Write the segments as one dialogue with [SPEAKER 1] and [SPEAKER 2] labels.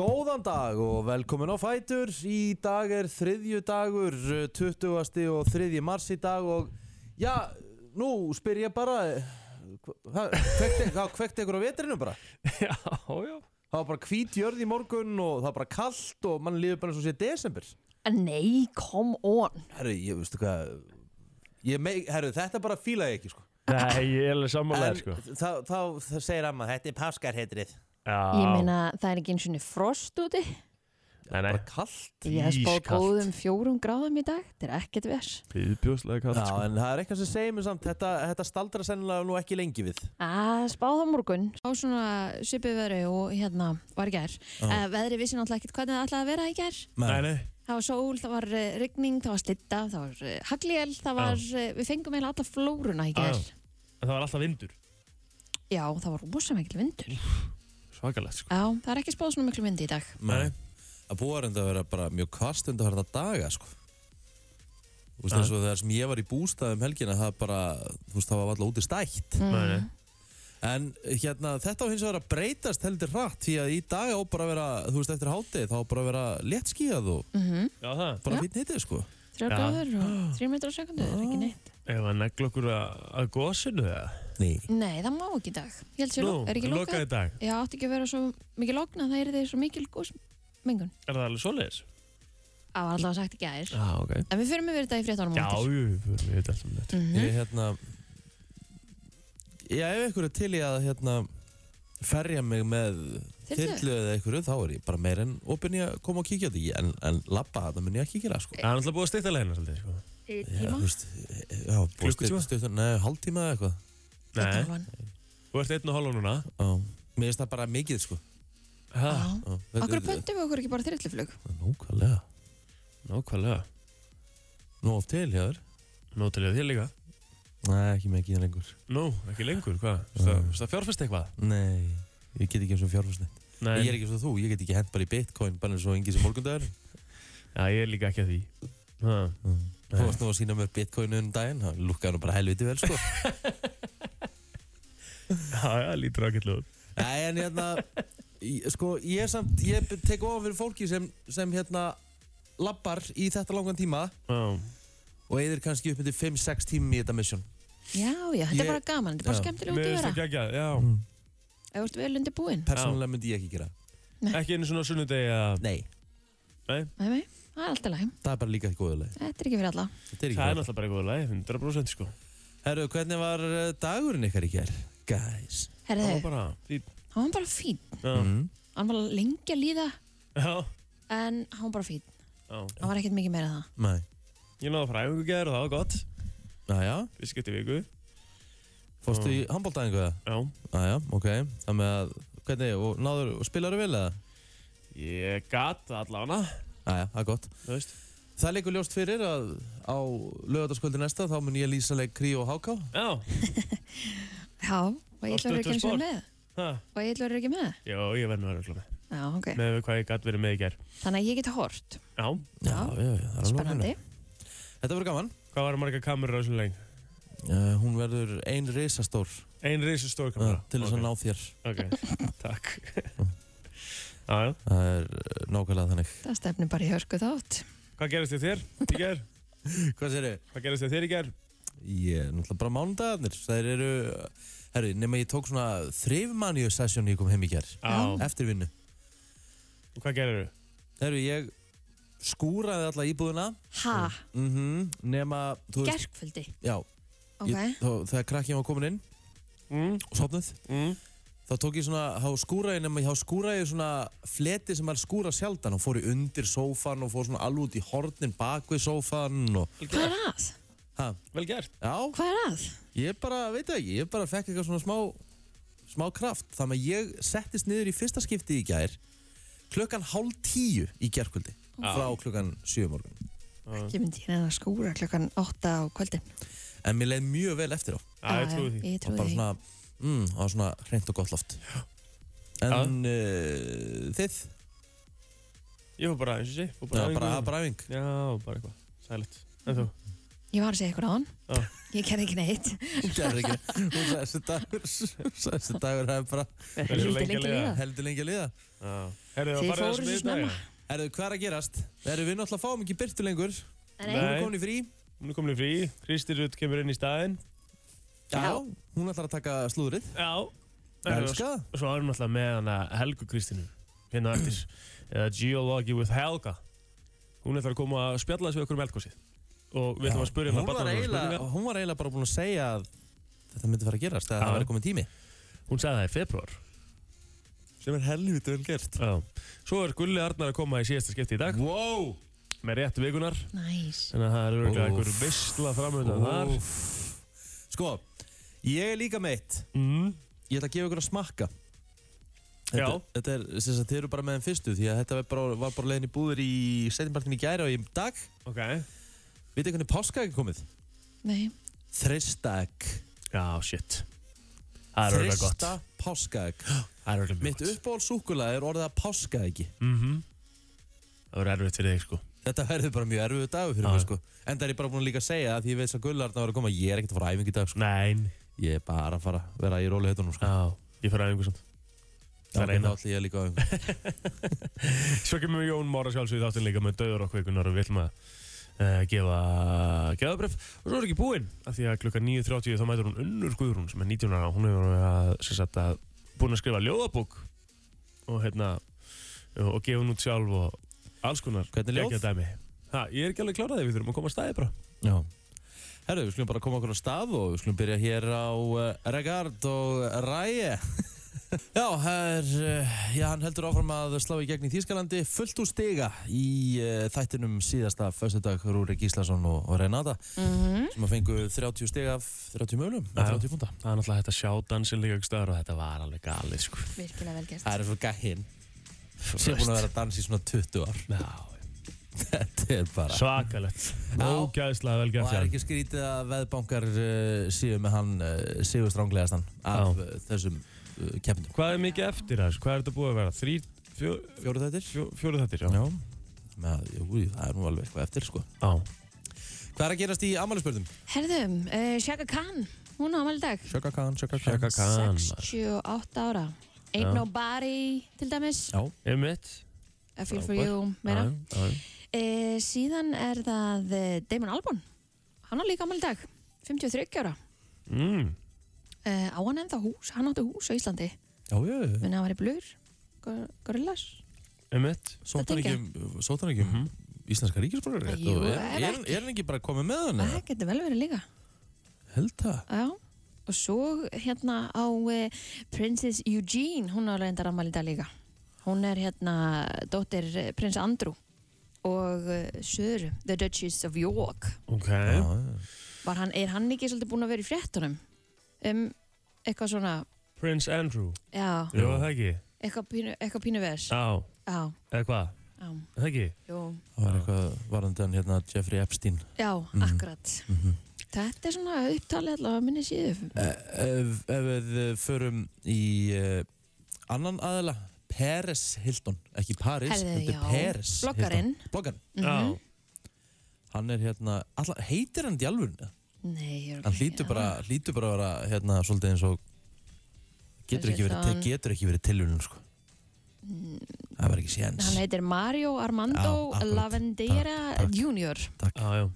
[SPEAKER 1] Góðan dag og velkomin á Fætur Í dag er þriðju dagur 20. og 3. mars í dag og já, nú spyr ég bara eh, Kvekti ykkur á vetrinu bara
[SPEAKER 2] Já, já
[SPEAKER 1] Það var bara hvít jörð í morgun og það var bara kallt og mann líður bara eins og sé desember
[SPEAKER 3] Nei, come on
[SPEAKER 1] Herru, ég veistu hvað ég mei, Herru, þetta bara fíla ég ekki sko
[SPEAKER 2] Nei, ég er alveg sammálaðið sko
[SPEAKER 1] En þá, þá, þá segir amma, þetta er páskarheitrið
[SPEAKER 2] já.
[SPEAKER 3] Ég meina, það er ekki eins og niður frost úti
[SPEAKER 2] Nei, nei
[SPEAKER 1] Bara kallt
[SPEAKER 3] Ég hef spáð
[SPEAKER 2] Ískalt.
[SPEAKER 3] góðum fjórum gráðum í dag Það er ekkert vers
[SPEAKER 2] Íðbjóðslega
[SPEAKER 1] Já, en það er eitthvað sem segir mér samt Þetta, þetta staldra sennilega nú ekki lengi við
[SPEAKER 3] Að spáð á morgun
[SPEAKER 4] á svona svipið veru og hérna var í gær. Uh, veðri vissi náttúrulega ekkert hvernig það ætlaði að vera í gær.
[SPEAKER 2] Nei, nei
[SPEAKER 4] Það var sól, það var uh, rigning, það var slitta, það var uh, hagljél, það var, uh, við fengum eiginlega alla flóruna í gær.
[SPEAKER 2] Já. En það var alltaf vindur
[SPEAKER 4] Já, það var rosa mikil vindur. Já,
[SPEAKER 2] Svakalegt sko
[SPEAKER 4] það er ekki spáð svona miklu vindi í dag.
[SPEAKER 1] Nei Það búið er enda að vera bara mjög kvast enda að vera daga, sko Þú veist eins og þegar sem ég var í bústaðum helgina það bara, þú veist, það var alltaf úti stætt
[SPEAKER 2] Nei, nei
[SPEAKER 1] En hérna, þetta á hins vegar að breytast heldur hratt því að í dag á bara að vera, þú veist, eftir hátið þá á bara að vera léttskíðað og
[SPEAKER 2] Já, það
[SPEAKER 1] bara fýtt nýttið, sko
[SPEAKER 4] Mm, mhm. Þrjár
[SPEAKER 2] Já.
[SPEAKER 4] gráður og þrjum metrar á sekundu, það er ekki neitt.
[SPEAKER 2] Ef að negla okkur að, að gósinu það
[SPEAKER 1] Nei
[SPEAKER 4] Nei, það má ekki í dag. Ég held sér,
[SPEAKER 2] Nú,
[SPEAKER 4] lo- er ekki lokað?
[SPEAKER 2] lokaði dag
[SPEAKER 4] Já, átti ekki að vera svo mikil lokna, það er svo mikil góðsmengun.
[SPEAKER 2] Er það alveg svoleiðis?
[SPEAKER 4] Það var allavega sagt í gær.
[SPEAKER 2] Já, ok
[SPEAKER 4] En við fyrir með verið þetta í fréttanum
[SPEAKER 2] Já, jú, við veit alltaf um þetta
[SPEAKER 4] Mhm.
[SPEAKER 1] Ég, hérna Já, ef ykkur er til í að, hérna ferja mig með
[SPEAKER 4] Þyrlu?
[SPEAKER 1] þyrlu eða einhverju, þá er ég bara meir en opinn í að koma og kíkja á því, en, en labba þetta mun ég ekki gera, sko
[SPEAKER 2] Það er alltaf búið að steytta leina svolítið sko
[SPEAKER 1] Já, þú veist, já,
[SPEAKER 2] Klukkutíma?
[SPEAKER 1] búið stuttan, nei, hálftíma eða eitthvað
[SPEAKER 2] Nei,
[SPEAKER 4] Nei.
[SPEAKER 2] þú ert einn og hálfa núna
[SPEAKER 1] Já, mér finnst það bara mikið, sko
[SPEAKER 2] Ha,
[SPEAKER 1] Já, þetta-
[SPEAKER 4] Akkur pöntum við okkur ekki bara þyrluflug?
[SPEAKER 1] Nákvæmlega,
[SPEAKER 2] Nákvæmlega
[SPEAKER 1] nú oft til, jáður
[SPEAKER 2] Nú til ég þér líka
[SPEAKER 1] Nei, ekki mikið lengur
[SPEAKER 2] Nú, ekki lengur, hvað? Þú veist að fjárfæst eitthvað?
[SPEAKER 1] Nei, ég get ekki eins og fjárfarsnett
[SPEAKER 2] Nei,
[SPEAKER 1] Ég er ekki eins og þú, ég get ekki hent bara í bitcoin bara eins og engi sem morgundagur
[SPEAKER 2] Já, ég er líka ekki að því Ha.
[SPEAKER 1] Þú varst nú að sína mér bitcoinu um daginn, það lukkaði nú bara helviti vel, sko
[SPEAKER 2] Já, já, lítur ágætlega út
[SPEAKER 1] Nei, en hérna í- Sko, ég samt, ég tek ofan fyrir fólki sem, sem hérna labbar í þetta langan tíma
[SPEAKER 2] Já,
[SPEAKER 1] og eðir kannski upp með 5-6 tímum í þetta mission
[SPEAKER 4] Já, já, þetta
[SPEAKER 1] Ég-
[SPEAKER 4] er bara gaman, þetta er bara
[SPEAKER 1] Já.
[SPEAKER 4] skemmtilega
[SPEAKER 2] mér
[SPEAKER 4] út að
[SPEAKER 2] finnst
[SPEAKER 4] vera
[SPEAKER 2] það geggja, já
[SPEAKER 4] Ef þú ert vel undir búinn
[SPEAKER 1] Persónulega myndi ég ekki gera það.
[SPEAKER 2] Ekki einu svona sunnudegi að
[SPEAKER 1] Nei,
[SPEAKER 2] Nei,
[SPEAKER 4] Nei, nei, það er alltaf læg,
[SPEAKER 1] það er bara líka góðuleg
[SPEAKER 4] þetta er ekki fyrir alla
[SPEAKER 1] Þetta er
[SPEAKER 2] það
[SPEAKER 1] ekki
[SPEAKER 2] er
[SPEAKER 1] það
[SPEAKER 2] náttúrulega bara góða lagi, 100% sko
[SPEAKER 1] Herru, hvernig var eh, dagurinn ykkar í gær? Guys
[SPEAKER 2] Það var
[SPEAKER 4] Herðu,
[SPEAKER 2] bara fín
[SPEAKER 4] hann var bara fín
[SPEAKER 2] Já,
[SPEAKER 1] mm.
[SPEAKER 4] Hann var lengi að líða,
[SPEAKER 2] já,
[SPEAKER 4] en hann var bara fín
[SPEAKER 2] já
[SPEAKER 4] Hann var ekkert mikið meira en það
[SPEAKER 1] Nei
[SPEAKER 2] Ég náði fræðingu gerð og það var gott
[SPEAKER 1] Næja,
[SPEAKER 2] Við skipti viku,
[SPEAKER 1] fórstu í handbóltæðingu það?
[SPEAKER 2] já
[SPEAKER 1] Næja, ok Það með að, hvernig, og náður, og spilaru vel eða?
[SPEAKER 2] Ég gat það allavega,
[SPEAKER 1] Næja, það er gott
[SPEAKER 2] þú veist
[SPEAKER 1] Það leikur ljóst fyrir að á lögataskvöldi næsta þá mun ég lýsa leik Krí og Háká.
[SPEAKER 2] Já,
[SPEAKER 4] Já, og ég
[SPEAKER 2] Á
[SPEAKER 4] ætla að vera ekki eins og
[SPEAKER 2] Stöðvarsport.
[SPEAKER 4] með
[SPEAKER 2] ha,
[SPEAKER 4] Og ég ætla að vera ekki með
[SPEAKER 2] já, ég verð nú að rögla með
[SPEAKER 4] Já, ok,
[SPEAKER 2] Með við hvað ég gat verið með í ger
[SPEAKER 4] þannig að ég get hort
[SPEAKER 2] Já,
[SPEAKER 4] Já,
[SPEAKER 1] já, já, það er alveg að
[SPEAKER 4] Spennandi
[SPEAKER 1] finna. Þetta verður gaman.
[SPEAKER 2] hvað var marga kamerur á þessum leng?
[SPEAKER 1] Uh, hún verður ein risastór uh,
[SPEAKER 2] Ein reysu stór kamera
[SPEAKER 1] til þess að ná þér.
[SPEAKER 2] Ok, takk Já, já,
[SPEAKER 1] Það er uh, nákvæmlega þannig.
[SPEAKER 4] Það stefnir bara í hörku þátt
[SPEAKER 2] hvað gerist þér þér í ger?
[SPEAKER 1] Hvað sér ég?
[SPEAKER 2] Hvað gerist þér þér í ger?
[SPEAKER 1] Ég er náttúrulega bara mánudagarnir. Það eru, herri, nema ég tók svona þrifmanju sessjón ég kom heim í kjær.
[SPEAKER 2] Já,
[SPEAKER 1] Eftir vinnu.
[SPEAKER 2] og hvað gerir
[SPEAKER 1] Herri, ég skúraði alla íbúðuna.
[SPEAKER 4] Ha,
[SPEAKER 1] Mm Nema, þú veist,
[SPEAKER 4] gerkvöldi
[SPEAKER 1] já.
[SPEAKER 4] Ok,
[SPEAKER 1] Ég, þá, þegar krakkjum var komin inn
[SPEAKER 2] Mm,
[SPEAKER 1] og sopnuð.
[SPEAKER 2] mm.
[SPEAKER 1] þá tók ég svona, þá skúra ég nema, þá skúra ég svona fleti sem maður skúra sjaldan og fór ég undir sófan og fór svona alveg út í hornin bak við sófan og,
[SPEAKER 2] Vel
[SPEAKER 4] hvað
[SPEAKER 2] gert.
[SPEAKER 4] er að?
[SPEAKER 1] ha,
[SPEAKER 2] Vel gert
[SPEAKER 1] já,
[SPEAKER 4] Hvað er að?
[SPEAKER 1] ég bara, veit það ekki, ég bara fekk eitthvað svona smá, smá kraft, þannig að ég settist niður í fyrsta skipti í gær, klukkan hálf tíu í gærkvöldi, frá klukkan sjö um morgun,
[SPEAKER 4] Ég myndi hérna að skúra klokkan 8 á kvöldin
[SPEAKER 1] en mér leið mjög vel eftir á,
[SPEAKER 2] Já, ég trúi því
[SPEAKER 4] Ég
[SPEAKER 1] og
[SPEAKER 4] trúi
[SPEAKER 1] bara
[SPEAKER 4] því
[SPEAKER 1] svona, mm, það var svona hreint og gott loft, en uh, þið,
[SPEAKER 2] Ég fór bara eins og sé fór
[SPEAKER 1] það var
[SPEAKER 2] æfingu.
[SPEAKER 1] bara, bara æfing,
[SPEAKER 2] Já, bara eitthvað Sælitt En þú?
[SPEAKER 4] Ég var að segja ykkur á hann.
[SPEAKER 2] Já.
[SPEAKER 4] Ég gerði ekki neitt.
[SPEAKER 1] Hún gerði ekki. Hún sagði þessi dagur, sagði þessi dagur hefði bara
[SPEAKER 2] Verður
[SPEAKER 4] Hildi
[SPEAKER 2] lengi að
[SPEAKER 4] lengi
[SPEAKER 2] liða.
[SPEAKER 4] líða.
[SPEAKER 1] heldur lengi að liða.
[SPEAKER 2] Herðu, það
[SPEAKER 4] Þið
[SPEAKER 2] farið að
[SPEAKER 4] fóruð svo
[SPEAKER 2] smita
[SPEAKER 4] snemma.
[SPEAKER 1] Herðu, hvað er að gerast? Herðu, við náttúrulega fáum ekki byrtu lengur.
[SPEAKER 4] Nei.
[SPEAKER 1] Hún er komin í frí.
[SPEAKER 2] Hún er komin í frí, Kristi Rutt kemur inn í staðinn
[SPEAKER 1] Já. Hún ætlar að taka slúðrið.
[SPEAKER 2] Já Herðu,
[SPEAKER 1] Elska það.
[SPEAKER 2] Svo erum við alltaf með hana Helgu Kristínu hérna á eftir eða Geology with Helga hún er það að koma að spjalla þessu við okkur um eldgósið og við ætlum að spyrja
[SPEAKER 1] hún
[SPEAKER 2] hana
[SPEAKER 1] var,
[SPEAKER 2] barnalegra
[SPEAKER 1] eiginlega,
[SPEAKER 2] spurninga.
[SPEAKER 1] hún var eiginlega bara búin að segja að þetta myndi fara að gerast, að
[SPEAKER 2] Já.
[SPEAKER 1] það væri komin tími.
[SPEAKER 2] hún sagði það í februar
[SPEAKER 1] Sem er helvítið vel gert.
[SPEAKER 2] Já. Svo er Gulli Arnar að koma í síðasta skipti í dag
[SPEAKER 1] Wow!
[SPEAKER 2] með rétt vikunar
[SPEAKER 4] Næs.
[SPEAKER 2] þannig að það er örgulega
[SPEAKER 1] Úff.
[SPEAKER 2] einhver visla framöndan þar
[SPEAKER 1] Úff. Sko, ég er líka meitt.
[SPEAKER 2] mm.
[SPEAKER 1] Ég ætla að gefa ykkur að smakka. Þetta,
[SPEAKER 2] Já.
[SPEAKER 1] Þetta er, sem sagt, þið eru bara með þeim fyrstu því að þetta var bara, var bara leiðin í búður í setjumpartin í gæri og í dag.
[SPEAKER 2] Ok
[SPEAKER 1] Vitið hvernig páska er komið?
[SPEAKER 4] Nei.
[SPEAKER 1] Þristak.
[SPEAKER 2] Já, shit Það er örgulega gott
[SPEAKER 1] Þrista páskaegg.
[SPEAKER 2] Það er örgulega
[SPEAKER 1] Mitt
[SPEAKER 2] mjög gott
[SPEAKER 1] uppból súkulega er orðið að páskaeggi.
[SPEAKER 2] Mhm. Það verður erfitt fyrir þig sko
[SPEAKER 1] Þetta verður bara mjög erfiðu dagur fyrir
[SPEAKER 2] Já.
[SPEAKER 1] mig sko. En það er ég bara búin að líka að segja að því ég veist að gullarna var að koma, ég er ekkert að fara á æfingu í dag sko.
[SPEAKER 2] Nein
[SPEAKER 1] Ég er bara að fara að vera í róli heitunum sko.
[SPEAKER 2] Já, ég fyrir aðeins Það er
[SPEAKER 1] Já,
[SPEAKER 2] eina
[SPEAKER 1] Þá ætla ég líka á æfingu.
[SPEAKER 2] Svo kemur Jón Mára sjálfsögði þáttinn líka með döður okkur ykkurnar og við ætlum að uh, gefa geðabref og svo er ekki búinn af því að klukkan 9.30 þá mætur hún unnur Guðrún sem er 19 ára hún hefur verið að, sem sagt, að búin að skrifa ljóðabók og hérna og og gefa hún út sjálf og alls konar
[SPEAKER 1] Hvernig ljóð?
[SPEAKER 2] geggjað dæmi. Ha, ég er ekki alveg klárað því við þurfum að koma að staði bara
[SPEAKER 1] Já. Herru, við skulum bara koma okkur á stað og við skulum byrja hér á uh, Regard og Ræje. já, her, já, hann heldur áfram að slá í gegn í Þýskalandi fullt úr stiga í uh, þættinum síðasta föstudag Rúri Gíslason og, og Renata
[SPEAKER 4] Mhm.
[SPEAKER 1] sem að fengu 30 stiga af 30 mögulegum,
[SPEAKER 2] Já.
[SPEAKER 1] 30 funda.
[SPEAKER 2] það er náttúrulega hægt að sjá dansin líka ykkur staðar og þetta var alveg galið sko
[SPEAKER 4] Virkilega vel gert.
[SPEAKER 1] Það er svo gæinn sem búin að vera að dansa í svona 20 ár.
[SPEAKER 2] Já,
[SPEAKER 1] Þetta er bara...
[SPEAKER 2] svakalegt Ógæðslega vel
[SPEAKER 1] og
[SPEAKER 2] gert
[SPEAKER 1] það er
[SPEAKER 2] Jan.
[SPEAKER 1] ekki skrítið að veðbankar uh, séu með hann uh, séu stránglegast hann af
[SPEAKER 2] Já.
[SPEAKER 1] uh, þessum uh, keppindum.
[SPEAKER 2] Hvað er mikið eftir þess? Hvað er þetta búið að vera? Þrý, fjó,
[SPEAKER 1] Fjóruð þettir?
[SPEAKER 2] fjó, fjóru þettir, já.
[SPEAKER 1] Já, með, jú, það er nú alveg eitthvað eftir sko.
[SPEAKER 2] Já.
[SPEAKER 1] Hvað er að gerast í amalispörðum?
[SPEAKER 4] Herðum, uh, Shaka Khan, hún á amal dag.
[SPEAKER 1] Shaka Khan, Shaka
[SPEAKER 2] Shaka Khan, maður.
[SPEAKER 4] 68 ára. Ain't
[SPEAKER 2] Já.
[SPEAKER 4] nobody, til dæmis.
[SPEAKER 1] Já,
[SPEAKER 2] Einmitt.
[SPEAKER 4] I feel for
[SPEAKER 2] Frábær.
[SPEAKER 4] you, meira.
[SPEAKER 2] Já, já.
[SPEAKER 4] Uh, síðan er það uh, Damon Albarn. Hann á líka amal dag. 53 ára.
[SPEAKER 2] Mm.
[SPEAKER 4] Uh, á hann ennþá hús, hann átti hús á Íslandi.
[SPEAKER 1] já, já, já.
[SPEAKER 4] Minna að hann var í blur. Gor gorillas.
[SPEAKER 2] Einmitt.
[SPEAKER 1] Sótt hann ekki um, sótt hann ekki
[SPEAKER 2] Mhm.
[SPEAKER 1] um íslenska ríkisbróður
[SPEAKER 4] Jú,
[SPEAKER 1] er,
[SPEAKER 4] ef
[SPEAKER 1] er, er, er hann ekki bara komið með hann?
[SPEAKER 4] Það getur vel verið líka.
[SPEAKER 1] Held það
[SPEAKER 4] Já, og svo hérna á eh, Princess Eugene, hún á reyndar afmæli í dag líka. Hún er hérna dóttir eh, prins Andrew og uh, Söru, the Duchess of York.
[SPEAKER 2] Ok.
[SPEAKER 1] Já,
[SPEAKER 2] Já.
[SPEAKER 1] já.
[SPEAKER 4] Var hann, er hann ekki svolítið búinn að vera í fréttunum? Um, eitthvað svona,
[SPEAKER 2] Prince Andrew.
[SPEAKER 4] já,
[SPEAKER 2] Jú, er það ekki?
[SPEAKER 4] eitthvað pínu, eitthvað pínu vers.
[SPEAKER 2] Já.
[SPEAKER 4] Já,
[SPEAKER 2] Eða hvað?
[SPEAKER 4] já,
[SPEAKER 2] Er Það ekki?
[SPEAKER 4] jú,
[SPEAKER 1] Það var eitthvað varðandi hann hérna Jeffrey Epstein
[SPEAKER 4] já,
[SPEAKER 1] Mhm.
[SPEAKER 4] akkurat.
[SPEAKER 1] Mhm.
[SPEAKER 4] Þetta er svona upptalið allavega minni síðu.
[SPEAKER 1] Eh, Ef, ef við eh, förum í uh, annan aðila Peres Hilton, ekki Paris
[SPEAKER 4] Herðu,
[SPEAKER 1] heldur
[SPEAKER 4] já,
[SPEAKER 1] Peres
[SPEAKER 4] bloggarinn.
[SPEAKER 1] Hilton Bloggarinn,
[SPEAKER 4] Mm
[SPEAKER 1] hann er hérna alla, heitir hann djálfurinn?
[SPEAKER 4] Nei, ég er
[SPEAKER 1] hann hlýtur bara, hlýtur bara að vera hérna, svolítið eins og getur
[SPEAKER 4] Þessi
[SPEAKER 1] ekki verið,
[SPEAKER 4] þaðan-
[SPEAKER 1] getur ekki verið tilvunum sko. það var ekki séns
[SPEAKER 4] Mm, Hann heitir Mario Armando
[SPEAKER 1] Já, akkurat.
[SPEAKER 4] Lavendera
[SPEAKER 1] Takk, takk.
[SPEAKER 4] Junior.
[SPEAKER 2] Já, já.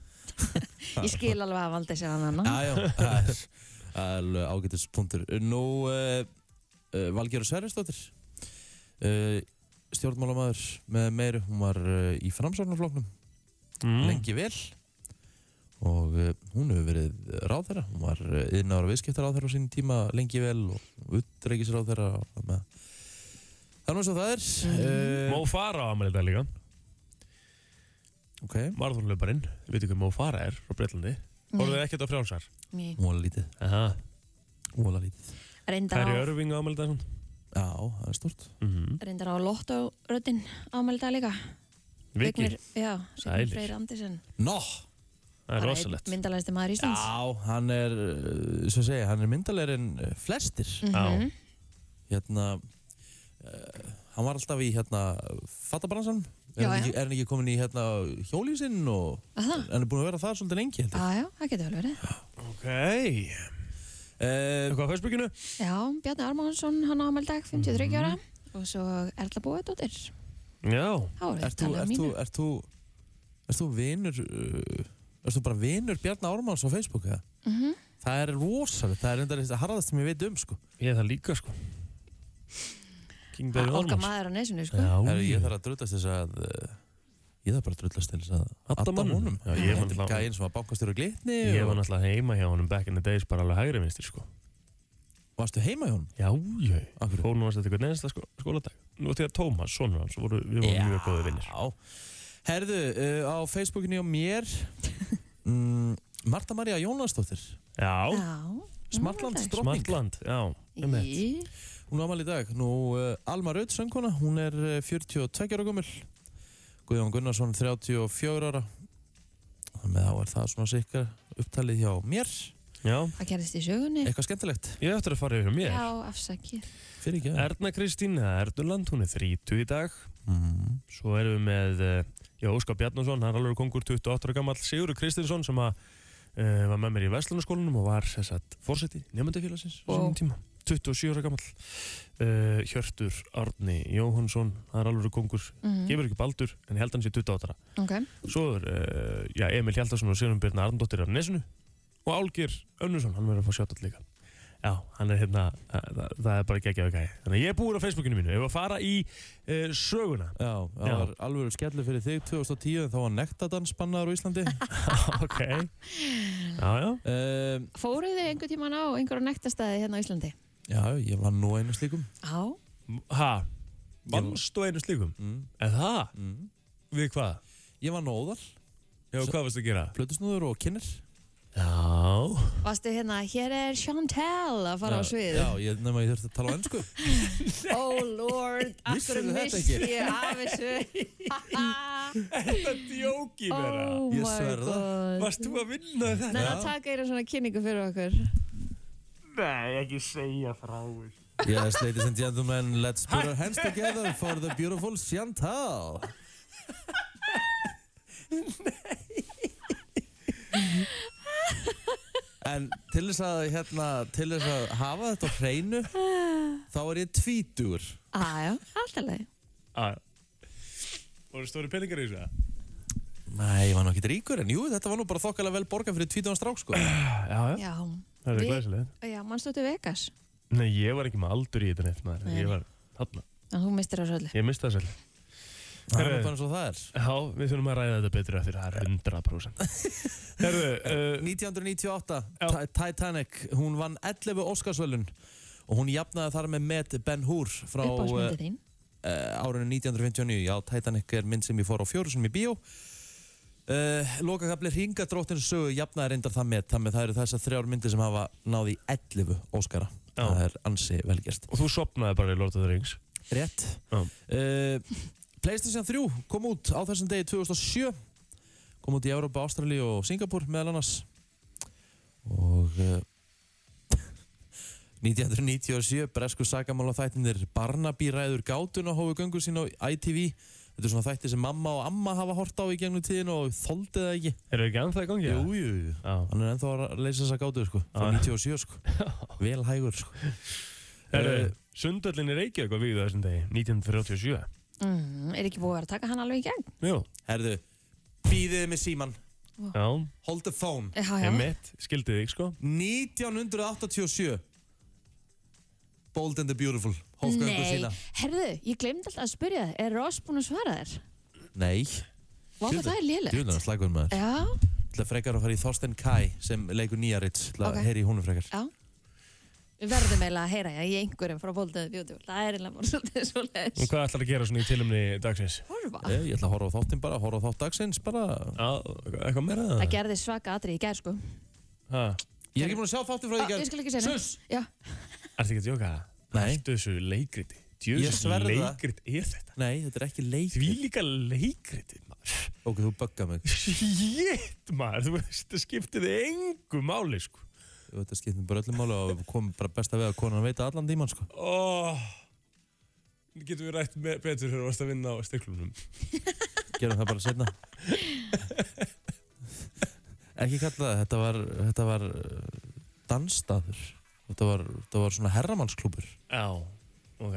[SPEAKER 4] Ég skil alveg að valda sér hann annan.
[SPEAKER 1] Já, já, það er- það er alveg ágætis punktur nú uh, uh, Valgerur Sverrisdóttir uh, stjórnmálamæður með meiru, hún var uh, í framsóknarflóknum
[SPEAKER 2] Mm.
[SPEAKER 1] lengi vel og uh, hún hefur verið ráðherra hún var uh, yðnára viðskiptar ráðherra á sínum tíma lengi vel og utreikis ráðherra og það með það er nú svo það er
[SPEAKER 2] Mó
[SPEAKER 1] uh,
[SPEAKER 2] Fara á amalita líka.
[SPEAKER 1] ok,
[SPEAKER 2] Marathonlauparinn. Við veitum hvað Mó Fara er frá Breitlandi. Orðið ekkert á frjálsar.
[SPEAKER 4] Nei.
[SPEAKER 1] hún var lítið
[SPEAKER 2] Aha.
[SPEAKER 1] hún var lítið,
[SPEAKER 4] Reyndar
[SPEAKER 2] Kæri
[SPEAKER 4] á,
[SPEAKER 2] Örving á amalita svona.
[SPEAKER 1] já, það er stort
[SPEAKER 2] Mhm.
[SPEAKER 4] reyndar á Lotto-röddinn ámæli dag líka.
[SPEAKER 2] Viki.
[SPEAKER 4] Vignir- Já,
[SPEAKER 2] Sælir.
[SPEAKER 4] Vignir Freyr Andersen.
[SPEAKER 1] Nó,
[SPEAKER 2] Það er rosalegt.
[SPEAKER 4] Myndalægsti maður Íslands.
[SPEAKER 1] já, hann er uh, svo segja, hann er myndalegri en uh, flestir
[SPEAKER 4] Mm. Mhm.
[SPEAKER 2] Já.
[SPEAKER 1] eh, hérna uh, hann var alltaf í hérna fatabransan Er
[SPEAKER 4] Já,
[SPEAKER 1] hann
[SPEAKER 4] já.
[SPEAKER 1] ekki- er hann ekki komin í hérna, hjólísinn og
[SPEAKER 4] Að það?
[SPEAKER 1] hann er búin að vera það svolítið lengi heldur.
[SPEAKER 4] Já, já, það getur vel verið.
[SPEAKER 2] Ok.
[SPEAKER 1] Uh,
[SPEAKER 2] Eitthvað á Facebookinu?
[SPEAKER 4] Já, Bjarni Armánsson, hann á amal dag,
[SPEAKER 1] Mhm.
[SPEAKER 4] 53 ára. Og svo Erla Bóðardóttir.
[SPEAKER 2] Já.
[SPEAKER 4] Há er
[SPEAKER 1] ert þú,
[SPEAKER 4] þetta
[SPEAKER 1] ert þú,
[SPEAKER 4] mínu.
[SPEAKER 1] ert þú, ert þú vinur, uh, ert þú bara vinur Bjarni Ármanns á Facebook eða?
[SPEAKER 4] Mhm.
[SPEAKER 1] Það er rosalega, það er enda að harðast sem ég veit um sko.
[SPEAKER 2] Ég er það líka, sko. King David
[SPEAKER 4] Olga
[SPEAKER 2] Ormans.
[SPEAKER 4] maður á nesinu, sko.
[SPEAKER 2] Já,
[SPEAKER 1] Herri, ég þarf að drullast þess að, uh, ég þarf bara að drullast til þess að
[SPEAKER 2] Adda
[SPEAKER 1] adda
[SPEAKER 2] honum.
[SPEAKER 1] honum.
[SPEAKER 2] Já, ég var
[SPEAKER 1] Þetta er
[SPEAKER 2] náttúrulega-
[SPEAKER 1] gæinn sem var bankastjóri glitni
[SPEAKER 2] Ég var
[SPEAKER 1] og
[SPEAKER 2] náttúrulega heima hjá honum back in the days bara alveg hægri minnstir, sko.
[SPEAKER 1] varstu heima hjá honum?
[SPEAKER 2] Já, já.
[SPEAKER 1] Af hverju?
[SPEAKER 2] Fór nú að þetta eitthvað neðinsta skó skóladag. Nú til að Tómas, sonur hans, voru, við vorum mjög góði vinnir.
[SPEAKER 1] Já. Herðu, uh, á Facebookinu á mér, mm, Marta Maria Jónasdóttir,
[SPEAKER 2] Já.
[SPEAKER 1] Smartlands drottning.
[SPEAKER 2] Smartland, já. einmitt.
[SPEAKER 4] Í,
[SPEAKER 1] Hún er ámæli í dag. Nú, uh, Alma Raut sönguna, hún er uh, 42 ára gömul. Guðjón Gunnarsson 34 ára. Þannig að þá er það svona sikra upptalið hjá mér.
[SPEAKER 2] Já.
[SPEAKER 4] það gerðist í sögunni.
[SPEAKER 1] Eitthvað skemmtilegt.
[SPEAKER 2] Ég ætti að fara yfir mér.
[SPEAKER 4] Já, afsakið.
[SPEAKER 1] Fyrir ekki að.
[SPEAKER 2] Erna Kristín, eða Ernuland, hún er 30 í dag.
[SPEAKER 1] Mm.
[SPEAKER 2] Svo erum við með eh, já, Óskar Bjarnason, hann er alveg kongur 28 ára gammal, Sigurður Kristinsson sem að, uh, var með mér í Vestlunarskólanum og var sem sagt, fórseti nefndafélagsins á
[SPEAKER 4] Vá.
[SPEAKER 2] sínum tíma. 27 ára gammal. Uh, Hjörtur Árni Jóhansson, hann er alveg kongur,
[SPEAKER 4] Mm.
[SPEAKER 2] gefur ekki baldur en ég held hann sé 28 ára.
[SPEAKER 4] Ok,
[SPEAKER 2] Svo er uh, já, Emil Hjaldarsson og Sigurður Björn Arndóttir af Nesinu og Álgir Önnursson, hann verður að fá sjátt allir líka. Já, hann er hérna, uh, það, það er bara geggjaðu gæði. Þannig að ég er búin á Facebookinu mínu, ég var að fara í uh, söguna.
[SPEAKER 1] Já, það
[SPEAKER 2] Já.
[SPEAKER 1] var alveg skellu fyrir þig 2010 en þá var nektadans bannaður á Íslandi.
[SPEAKER 2] ok já, já.
[SPEAKER 1] uh,
[SPEAKER 4] fóruð þið einhver tíman á einhverja nektastæði hérna á Íslandi?
[SPEAKER 1] já, ég var nú einu slíkum.
[SPEAKER 4] Já,
[SPEAKER 2] ha, mannstu einu slíkum
[SPEAKER 1] Mm.
[SPEAKER 2] en það,
[SPEAKER 1] Mm.
[SPEAKER 2] við hvað?
[SPEAKER 1] Ég var nóðal,
[SPEAKER 2] já,
[SPEAKER 1] S-
[SPEAKER 2] hvað varstu að gera?
[SPEAKER 1] plötusnúður og kynir.
[SPEAKER 2] já,
[SPEAKER 4] varstu hérna, hér er Chantel að fara á
[SPEAKER 1] Já,
[SPEAKER 4] svið.
[SPEAKER 1] Já, ég, nema ég þurfti að tala á ennsku.
[SPEAKER 4] Oh lord, akkur
[SPEAKER 1] Vissirðu þetta
[SPEAKER 4] missi ég af þessu.
[SPEAKER 2] þetta djóki vera
[SPEAKER 4] oh
[SPEAKER 1] Ég
[SPEAKER 4] my
[SPEAKER 1] sverða.
[SPEAKER 4] god.
[SPEAKER 2] varst þú að vinna þetta?
[SPEAKER 4] Nei, það taka einu svona kynningu fyrir okkur.
[SPEAKER 2] nei, ekki segja frá
[SPEAKER 1] Yes, ladies and gentlemen, let's put our hands together for the beautiful Chantal. En til þess að, hérna, til þess að hafa þetta á hreinu, þá er ég tvítur.
[SPEAKER 4] Aja, alltaf leið.
[SPEAKER 2] ah. voru stóri peningar í þessu? eða?
[SPEAKER 1] Nei, ég var nú ekkert ríkur, en jú, þetta var nú bara þokkalega vel borgað fyrir tvítugan strák, sko.
[SPEAKER 2] já,
[SPEAKER 4] Já,
[SPEAKER 2] það er
[SPEAKER 4] Við-
[SPEAKER 2] glæsilegt
[SPEAKER 4] já, mannstu til Vegas.
[SPEAKER 2] nei, ég var ekki með aldur í þetta neitt maður.
[SPEAKER 4] Nei,
[SPEAKER 2] ég
[SPEAKER 4] nei.
[SPEAKER 2] var þarna,
[SPEAKER 4] En þú mistir á svolítið.
[SPEAKER 2] ég misti það svolítið
[SPEAKER 1] Það er nú bara eins og það er.
[SPEAKER 2] Já, við þurfum að ræða þetta betur eftir, það er 100% Herðu, uh,
[SPEAKER 1] 1998,
[SPEAKER 2] Já.
[SPEAKER 1] Ti- Titanic, hún vann 11 Óskarsvölun og hún jafnaði þar með Matt Ben-Hur frá eh,
[SPEAKER 4] Uppáhaldsmyndið þín.
[SPEAKER 1] uh, árinu 1959 já, Titanic er mynd sem ég fór á fjóru sem í bíó uh, Lokakabli Ringadróttin sögu jafnaði reyndar það með þannig að það eru þessar þrjár myndir sem hafa náði 11 Óskara
[SPEAKER 2] Já.
[SPEAKER 1] það er ansi velgjert
[SPEAKER 2] og þú sopnaði bara í Lord of the Rings
[SPEAKER 1] rétt
[SPEAKER 2] Já.
[SPEAKER 1] uh, Playstation 3 kom út á þessum degi 2007 kom út í Európa, Ástrali og Singapur meðal annars og uh, 1997 bresku sagamála þættinir Barnaby ræður gátuna hófu göngu sín á ITV þetta er svona þætti sem mamma og amma hafa hort á í gegnum tíðin og þoldi það ekki
[SPEAKER 2] Erum við ekki annað það í gangi? eða?
[SPEAKER 1] jú, jú
[SPEAKER 2] Já.
[SPEAKER 1] hann er ennþá að leysa þessa gátu sko frá
[SPEAKER 2] Já.
[SPEAKER 1] 97 sko vel hægur sko
[SPEAKER 2] Herru,
[SPEAKER 1] Eh,
[SPEAKER 2] Sundöllin í Reykjavík var vígð á þessum degi, 1937.
[SPEAKER 4] Mm, er ekki búið að vera að taka hann alveg í gegn?
[SPEAKER 2] Jú.
[SPEAKER 1] herðu býðið með síman
[SPEAKER 2] Já,
[SPEAKER 1] hold the phone
[SPEAKER 4] Já, já.
[SPEAKER 2] ég mitt, skildið þig sko.
[SPEAKER 1] 1987 Bold and the Beautiful Hófgöngu sína
[SPEAKER 4] herðu, ég glemd alltaf að spyrja þér, er Ross búinn að svara þér?
[SPEAKER 1] Nei
[SPEAKER 4] Vá, hvað
[SPEAKER 1] Djöfull-
[SPEAKER 4] það er lélegt.
[SPEAKER 1] Djúðan að slægur maður
[SPEAKER 4] Já,
[SPEAKER 1] Það frekar að fara í Thorsten Kai sem leikur nýjaritt Það
[SPEAKER 4] Ok.
[SPEAKER 1] okay. heyri í húnum frekar
[SPEAKER 4] já. Við verðum eiginlega að heyra já, í einhverjum frá Bóldaði Bjóti. Það er eiginlega bara svolítið
[SPEAKER 2] Og
[SPEAKER 4] svolítið.
[SPEAKER 2] hvað ætlar að gera svona í tilumni dagsins?
[SPEAKER 4] Horfa.
[SPEAKER 1] Eh, Ég, ég ætla að horfa á þáttinn bara, horfa á þátt dagsins bara
[SPEAKER 2] Já, eitthvað meira
[SPEAKER 4] Það gerði svaka atrið í gær, sko.
[SPEAKER 2] Ha,
[SPEAKER 1] Ég er ekki búin að sjá þáttinn frá
[SPEAKER 4] Já,
[SPEAKER 1] því
[SPEAKER 4] Ah, ég skal ekki segja neitt.
[SPEAKER 1] Sus!
[SPEAKER 4] Já,
[SPEAKER 2] ertu ekki að djóka?
[SPEAKER 1] Nei.
[SPEAKER 2] Ertu þessu leikriti?
[SPEAKER 1] Ég
[SPEAKER 2] Djöðsins
[SPEAKER 1] sverða.
[SPEAKER 2] leikrit er þetta?
[SPEAKER 1] Nei, þetta er ekki leik
[SPEAKER 2] Því líka leikriti, maður.
[SPEAKER 1] Ok, þú bugga mig
[SPEAKER 2] Shit, maður, þú veist, það skiptið engu máli, sko.
[SPEAKER 1] Þetta skipt mér um bara öllum máli og kom bara besta við að konan veit allan tíman sko
[SPEAKER 2] Ó, getum við rætt me- betur þegar þú varst að vinna á stiklunum.
[SPEAKER 1] gerum það bara setna Ekki kalla það, þetta var, þetta var uh, dansstaður Þetta var, þetta var svona herramannsklúbur
[SPEAKER 2] Já, ok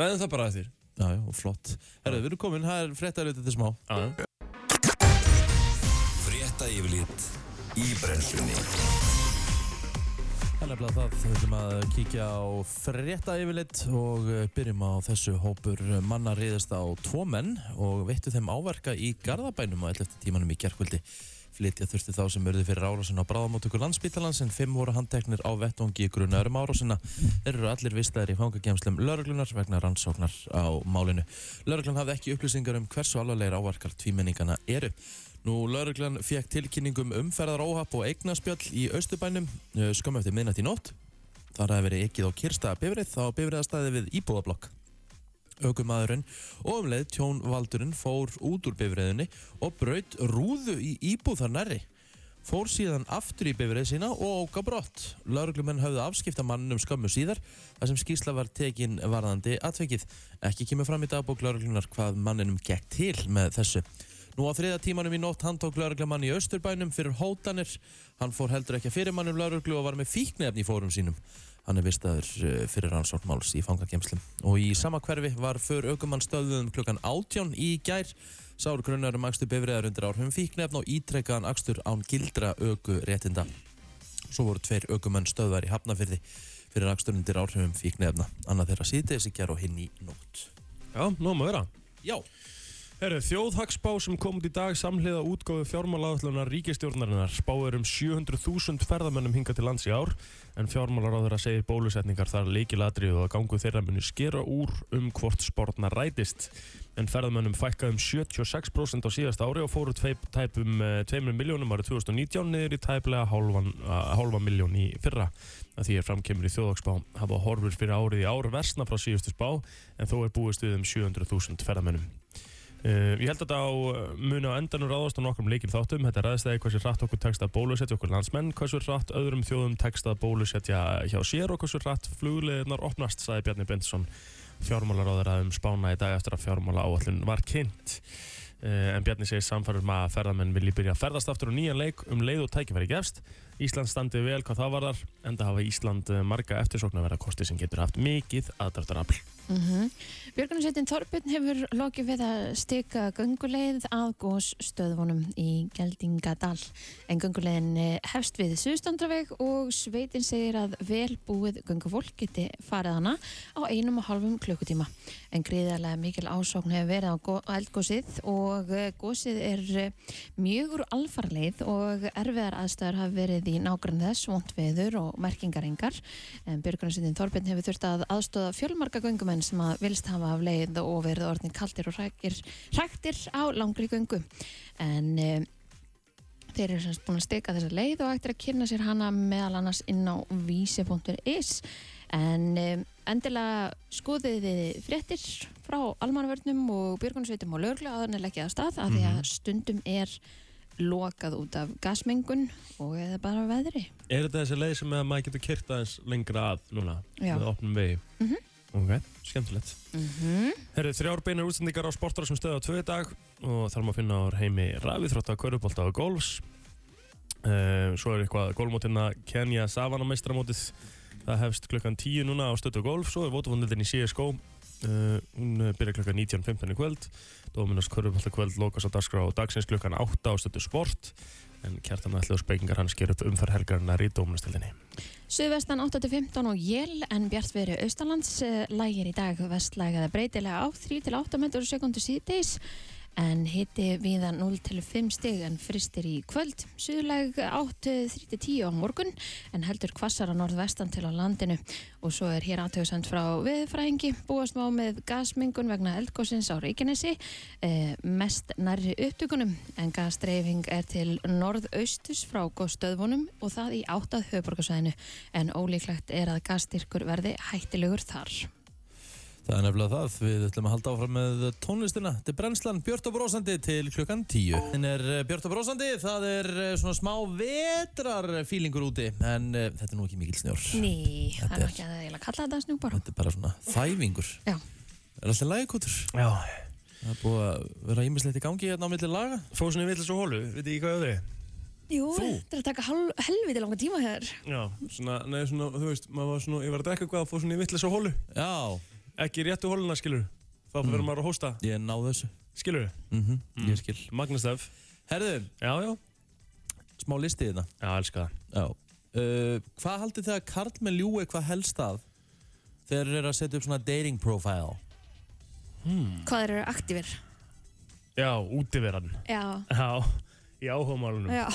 [SPEAKER 2] Ræðum það bara að þér
[SPEAKER 1] Já, já, og flott Herðu, við erum komin, það er fréttar auðvitað smá
[SPEAKER 2] Já,
[SPEAKER 5] Frétta yfirlit í brennslunni
[SPEAKER 1] Það er nefnilega það, við ætlum að kíkja á frétta yfirleitt og eh, byrjum á þessu hópur manna reyðist á tvo menn og veittu þeim áverka í Garðabænum á 11. tímanum í gerkvöldi. Flytja þurfti þá sem urðu fyrir árásin á bráðamótöku landsbítalans en fimm voru handteknir á vettvangi í grunarum árásina. Þeir eru allir vistaðir í fangakemslum lauruglunar vegna rannsóknar á málinu. Lauruglan hafði ekki upplýsingar um hversu alvarlegir áverkar tvímenningana eru. Nú, lauruglan fekk tilkynningum um umferðaróhapp og eignaspjall í Östubænum eh, skömmu eftir miðnætt í nótt. Þar hafi verið ekkið á kyrstaða bifrið á bifriðastæði við íbúðablokk. Ökumadurinn og um leið tjón Valdurinn fór út úr bifriðinni og braut rúðu í íbúð þar nærri. Fór síðan aftur í bifrið sína og óka brott. Lauruglumenn höfðu afskipta mannum skömmu síðar þar sem skýrsla var tekin varðandi atveikið. Ekki kemur fram í dagbók lauruglunar hvað manninum gekk til með þessu. Nú á þriða tímanum í nótt handtók lauruglamann í Östurbænum fyrir hótanir. Hann fór heldur ekki að fyrir mannum lauruglu og var með fíknefni í fórum sínum. Hann er vistaður eh, fyrir rannsóknmáls í fangakemslum. Og í sama hverfi var för aukumann stöðuðum klukkan átján í gær. Sár grunnar um akstur bifræðar undir áhrifum fíknefn og ítrekkaðan akstur án gildra auku réttinda. Svo voru tveir aukumenn stöðvar í Hafnafyrði fyrir akstur undir áhrifum fíknefna. Annað þeirra síðdegis í gær og hinn í nótt.
[SPEAKER 2] já nóg maður vera
[SPEAKER 1] Já,
[SPEAKER 2] Herru, þjóðhagsspá sem kom út í dag samhliða útgáfu fjármálaáðlunar ríkistjórnarinnar spáir um 700.000 ferðamönnum hinga til lands í ár en fjármálaráðurra segir bólusetningar þar leikilatrið og að gangu þeirra muni skera úr um hvort spórna rætist en ferðamönnum fækkaði um 76% á síðast ári og fóru tveip, tæpum eh, 2 miljónum árið 2019 niður í tæplega hálfan, eh, hálfa miljón í fyrra að því er framkemur í þjóðhagsspá hafa horfur fyrir árið í ár versna frá síðustu spá en þó er búist við um 700.000 ferðamönnum Uh, ég held að þetta á uh, muni á endanum ráðast á nokkrum leikinn þáttum. Þetta ræðist eða hversu rætt okkur tekst að bólusetja okkur landsmenn, hversu rætt öðrum þjóðum tekst að bólusetja hjá sér og hversu rætt flugleðinar opnast, sagði Bjarni Bensson fjármálaráður um spána í dag eftir að fjármála áallun var kynnt. Uh, en Bjarni segir samfærum að ferðamenn vilji byrja að ferðast aftur á nýjan leik um leið og tækifæri gefst. Ísland standi vel hvað það varðar, enda hafa Ísland eh, marga eftirsóknarverða kosti sem getur haft mikið aðdráttarafl.
[SPEAKER 4] Mm -hmm. Björgunarsveitin Þorbjörn hefur lokið við að stika gönguleið að gósstöðvunum í Geldingadal. En gönguleiðin eh, hefst við Suðustandraveg og sveitin segir að vel búið göngufólk geti farið hana á einum og halvum klukkutíma. En gríðarlega mikil ásókn hefur verið á gó- á eldgósið og eh, gósið er eh, mjög úr alfarleið og erfiðar aðstæður hafa verið í nágrann þess, vont veður og merkingarengar. En björgunarsveitin Þorbjörn hefur þurft að aðstóða fjölmarga göngumenn sem að vilst hafa af leið og verið orðin kaldir og hrækir, hræktir á langri göngu. En e, þeir eru semst búin að steka þessa leið og eftir að kynna sér hana meðal annars inn á vísi.is. En e, endilega skoðið þið fréttir frá almannvörnum og björgunarsveitum og löglu áður en ekki að stað af því að stundum er lokað út af gasmengun og eða bara veðri.
[SPEAKER 2] Er þetta þessi leið sem að maður getur kyrkt aðeins lengra að núna?
[SPEAKER 4] Já.
[SPEAKER 2] Með opnum vegi?
[SPEAKER 4] Mhm.
[SPEAKER 2] Ok, skemmtilegt.
[SPEAKER 4] Mm
[SPEAKER 2] Herru, þrjár beinar útsendingar á sportar sem stöða á tvö í dag og þar má finna á heimi rafið þrótt að körubólta og golfs. Uh, svo er eitthvað golfmótina Kenya Savana meistramótið. Það hefst klukkan 10 núna á stöðu golf. Svo er vótafóndildin í CSGO. Uh, hún eh, byrjar klukkan 19.15 í kvöld. Dóminas körubólta kvöld lokast á dagskrá og dagsins klukkan 8 á stöðu sport. En kjartan ætli og spekingar hans ger upp umferð helgarinnar í dóminastildinni.
[SPEAKER 4] Suðvestan 8-15 og jél en bjartveri austalands eh, lægir í dag vestlægaða breytilega á 3-8 metrur sekundu síðdeis en hitti viða 0-5 stig en fristir í kvöld suðlæg eh, 8-3-10 á morgun en heldur hvassar á norðvestan til á landinu og svo er hér aðtöðsend frá viðfræðingi búast má með gasmengun vegna eldgósins á Reykjanesi eh, mest nærri upptökunum en gasdreifing er til norðaustus frá góðstöðvunum og það í áttað höfuborgarsvæðinu en ólíklegt er að gasstyrkur verði hættilegur þar.
[SPEAKER 1] Það er nefnilega það, við ætlum að halda áfram með tónlistina. Þetta er brennslan Björt og Brósandi til klukkan 10. En er eh, Björt og Brósandi, það er eh, svona smá vetrar fílingur úti, en uh, þetta er nú ekki mikil snjór.
[SPEAKER 4] Ný, það
[SPEAKER 1] Þetta
[SPEAKER 4] er
[SPEAKER 1] er-
[SPEAKER 4] ekki að eiginlega kalla þetta snjúbar.
[SPEAKER 1] Þetta er bara svona þæfingur.
[SPEAKER 4] Já.
[SPEAKER 1] Er alltaf lægkútur?
[SPEAKER 2] Já,
[SPEAKER 1] Það er búið að vera ímislegt í gangi hérna á milli laga.
[SPEAKER 2] Fóðu svona í villis og hólu, veit ekki hvað það er?
[SPEAKER 4] Jú,
[SPEAKER 1] Þú?
[SPEAKER 4] þetta er að taka hal, helviti langa tíma hér
[SPEAKER 2] Já, svona, nei, svona, þú veist, maður var svona, ég var að drekka eitthvað og fóðu svona í villis og hólu.
[SPEAKER 1] Já,
[SPEAKER 2] Ekki í réttu hóluna, skilur. Þá mm. verður maður að hósta,
[SPEAKER 1] ég náði þessu.
[SPEAKER 2] skilur.
[SPEAKER 1] Mm
[SPEAKER 2] Mm.
[SPEAKER 1] Ég skil.
[SPEAKER 2] Magnastöf.
[SPEAKER 1] Herðu,
[SPEAKER 2] Já, já.
[SPEAKER 1] smá listi hérna.
[SPEAKER 2] Já, elska það.
[SPEAKER 1] Já. Uh, hvað haldið þið að karlmenn ljúi hvað helst að þegar þeir eru að setja upp svona dating profile?
[SPEAKER 4] Hvað þeir eru aktífir?
[SPEAKER 2] Já, útiveran.
[SPEAKER 4] Já,
[SPEAKER 2] Já, í áhugamálunum.
[SPEAKER 4] já,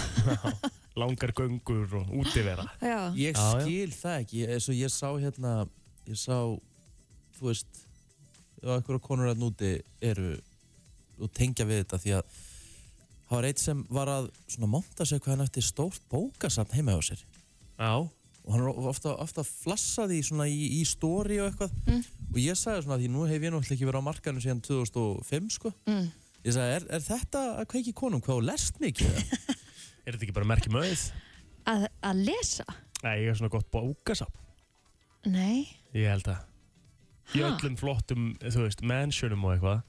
[SPEAKER 2] Langar göngur og útivera.
[SPEAKER 4] já
[SPEAKER 1] Ég
[SPEAKER 2] Já, já.
[SPEAKER 1] skil það ekki, ég- eins og ég sá hérna, ég sá, þú veist, og einhverja konur að núti eru og tengja við þetta því að það var eitt sem var að svona monta sig hvað hann ætti stórt bókasafn heima hjá sér
[SPEAKER 2] Já.
[SPEAKER 1] og hann var ofta, ofta flassaði í svona í, í stóri og eitthvað og ég sagði svona því nú hef ég náttúrulega ekki verið á markanum síðan 2005 sko
[SPEAKER 4] Mm.
[SPEAKER 1] ég sagði er, er þetta að kveiki konum hvað þú lest mikið eða?"
[SPEAKER 2] Er þetta ekki bara merkjum auð?
[SPEAKER 4] Að, að lesa?
[SPEAKER 2] Nei, ég er svona gott bókasafn.
[SPEAKER 4] Nei
[SPEAKER 2] Ég held að. Í
[SPEAKER 4] Ha?
[SPEAKER 2] öllum flottum, þú veist, mansionum og eitthvað.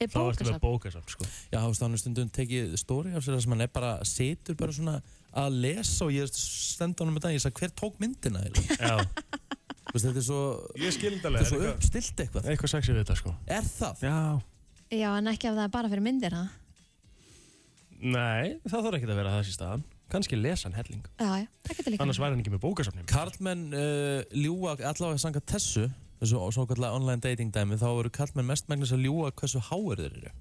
[SPEAKER 4] Er
[SPEAKER 2] Þá ertu með
[SPEAKER 4] bókasafn?
[SPEAKER 2] bókasafn, sko.
[SPEAKER 1] já þá hann stundum tekið stóri af sér þar sem hann er bara situr bara svona að lesa og ég stend á hann með dag ég sagði hver tók myndina eiginlega?"
[SPEAKER 2] Já.
[SPEAKER 1] Þú veist, þetta er svo
[SPEAKER 2] Ég
[SPEAKER 1] þetta
[SPEAKER 2] skildalega.
[SPEAKER 1] er svo uppstilt eitthvað
[SPEAKER 2] Eitthvað sexið við þetta, sko.
[SPEAKER 1] er það?
[SPEAKER 2] Já.
[SPEAKER 4] Já, en ekki ef það er bara fyrir myndir, ha?
[SPEAKER 2] Nei, það þarf ekki að vera það síðan staðan. Kanski lesan helling.
[SPEAKER 4] Já, já, það getur líka
[SPEAKER 2] Annars væri hann ekki með bókasafnum.
[SPEAKER 1] Karlmenn uh, ljúa allavega sanga þessu þessu svo kallega online dating dæmi þá eru karlmenn mestmægnis að ljúa hversu háir þeir eru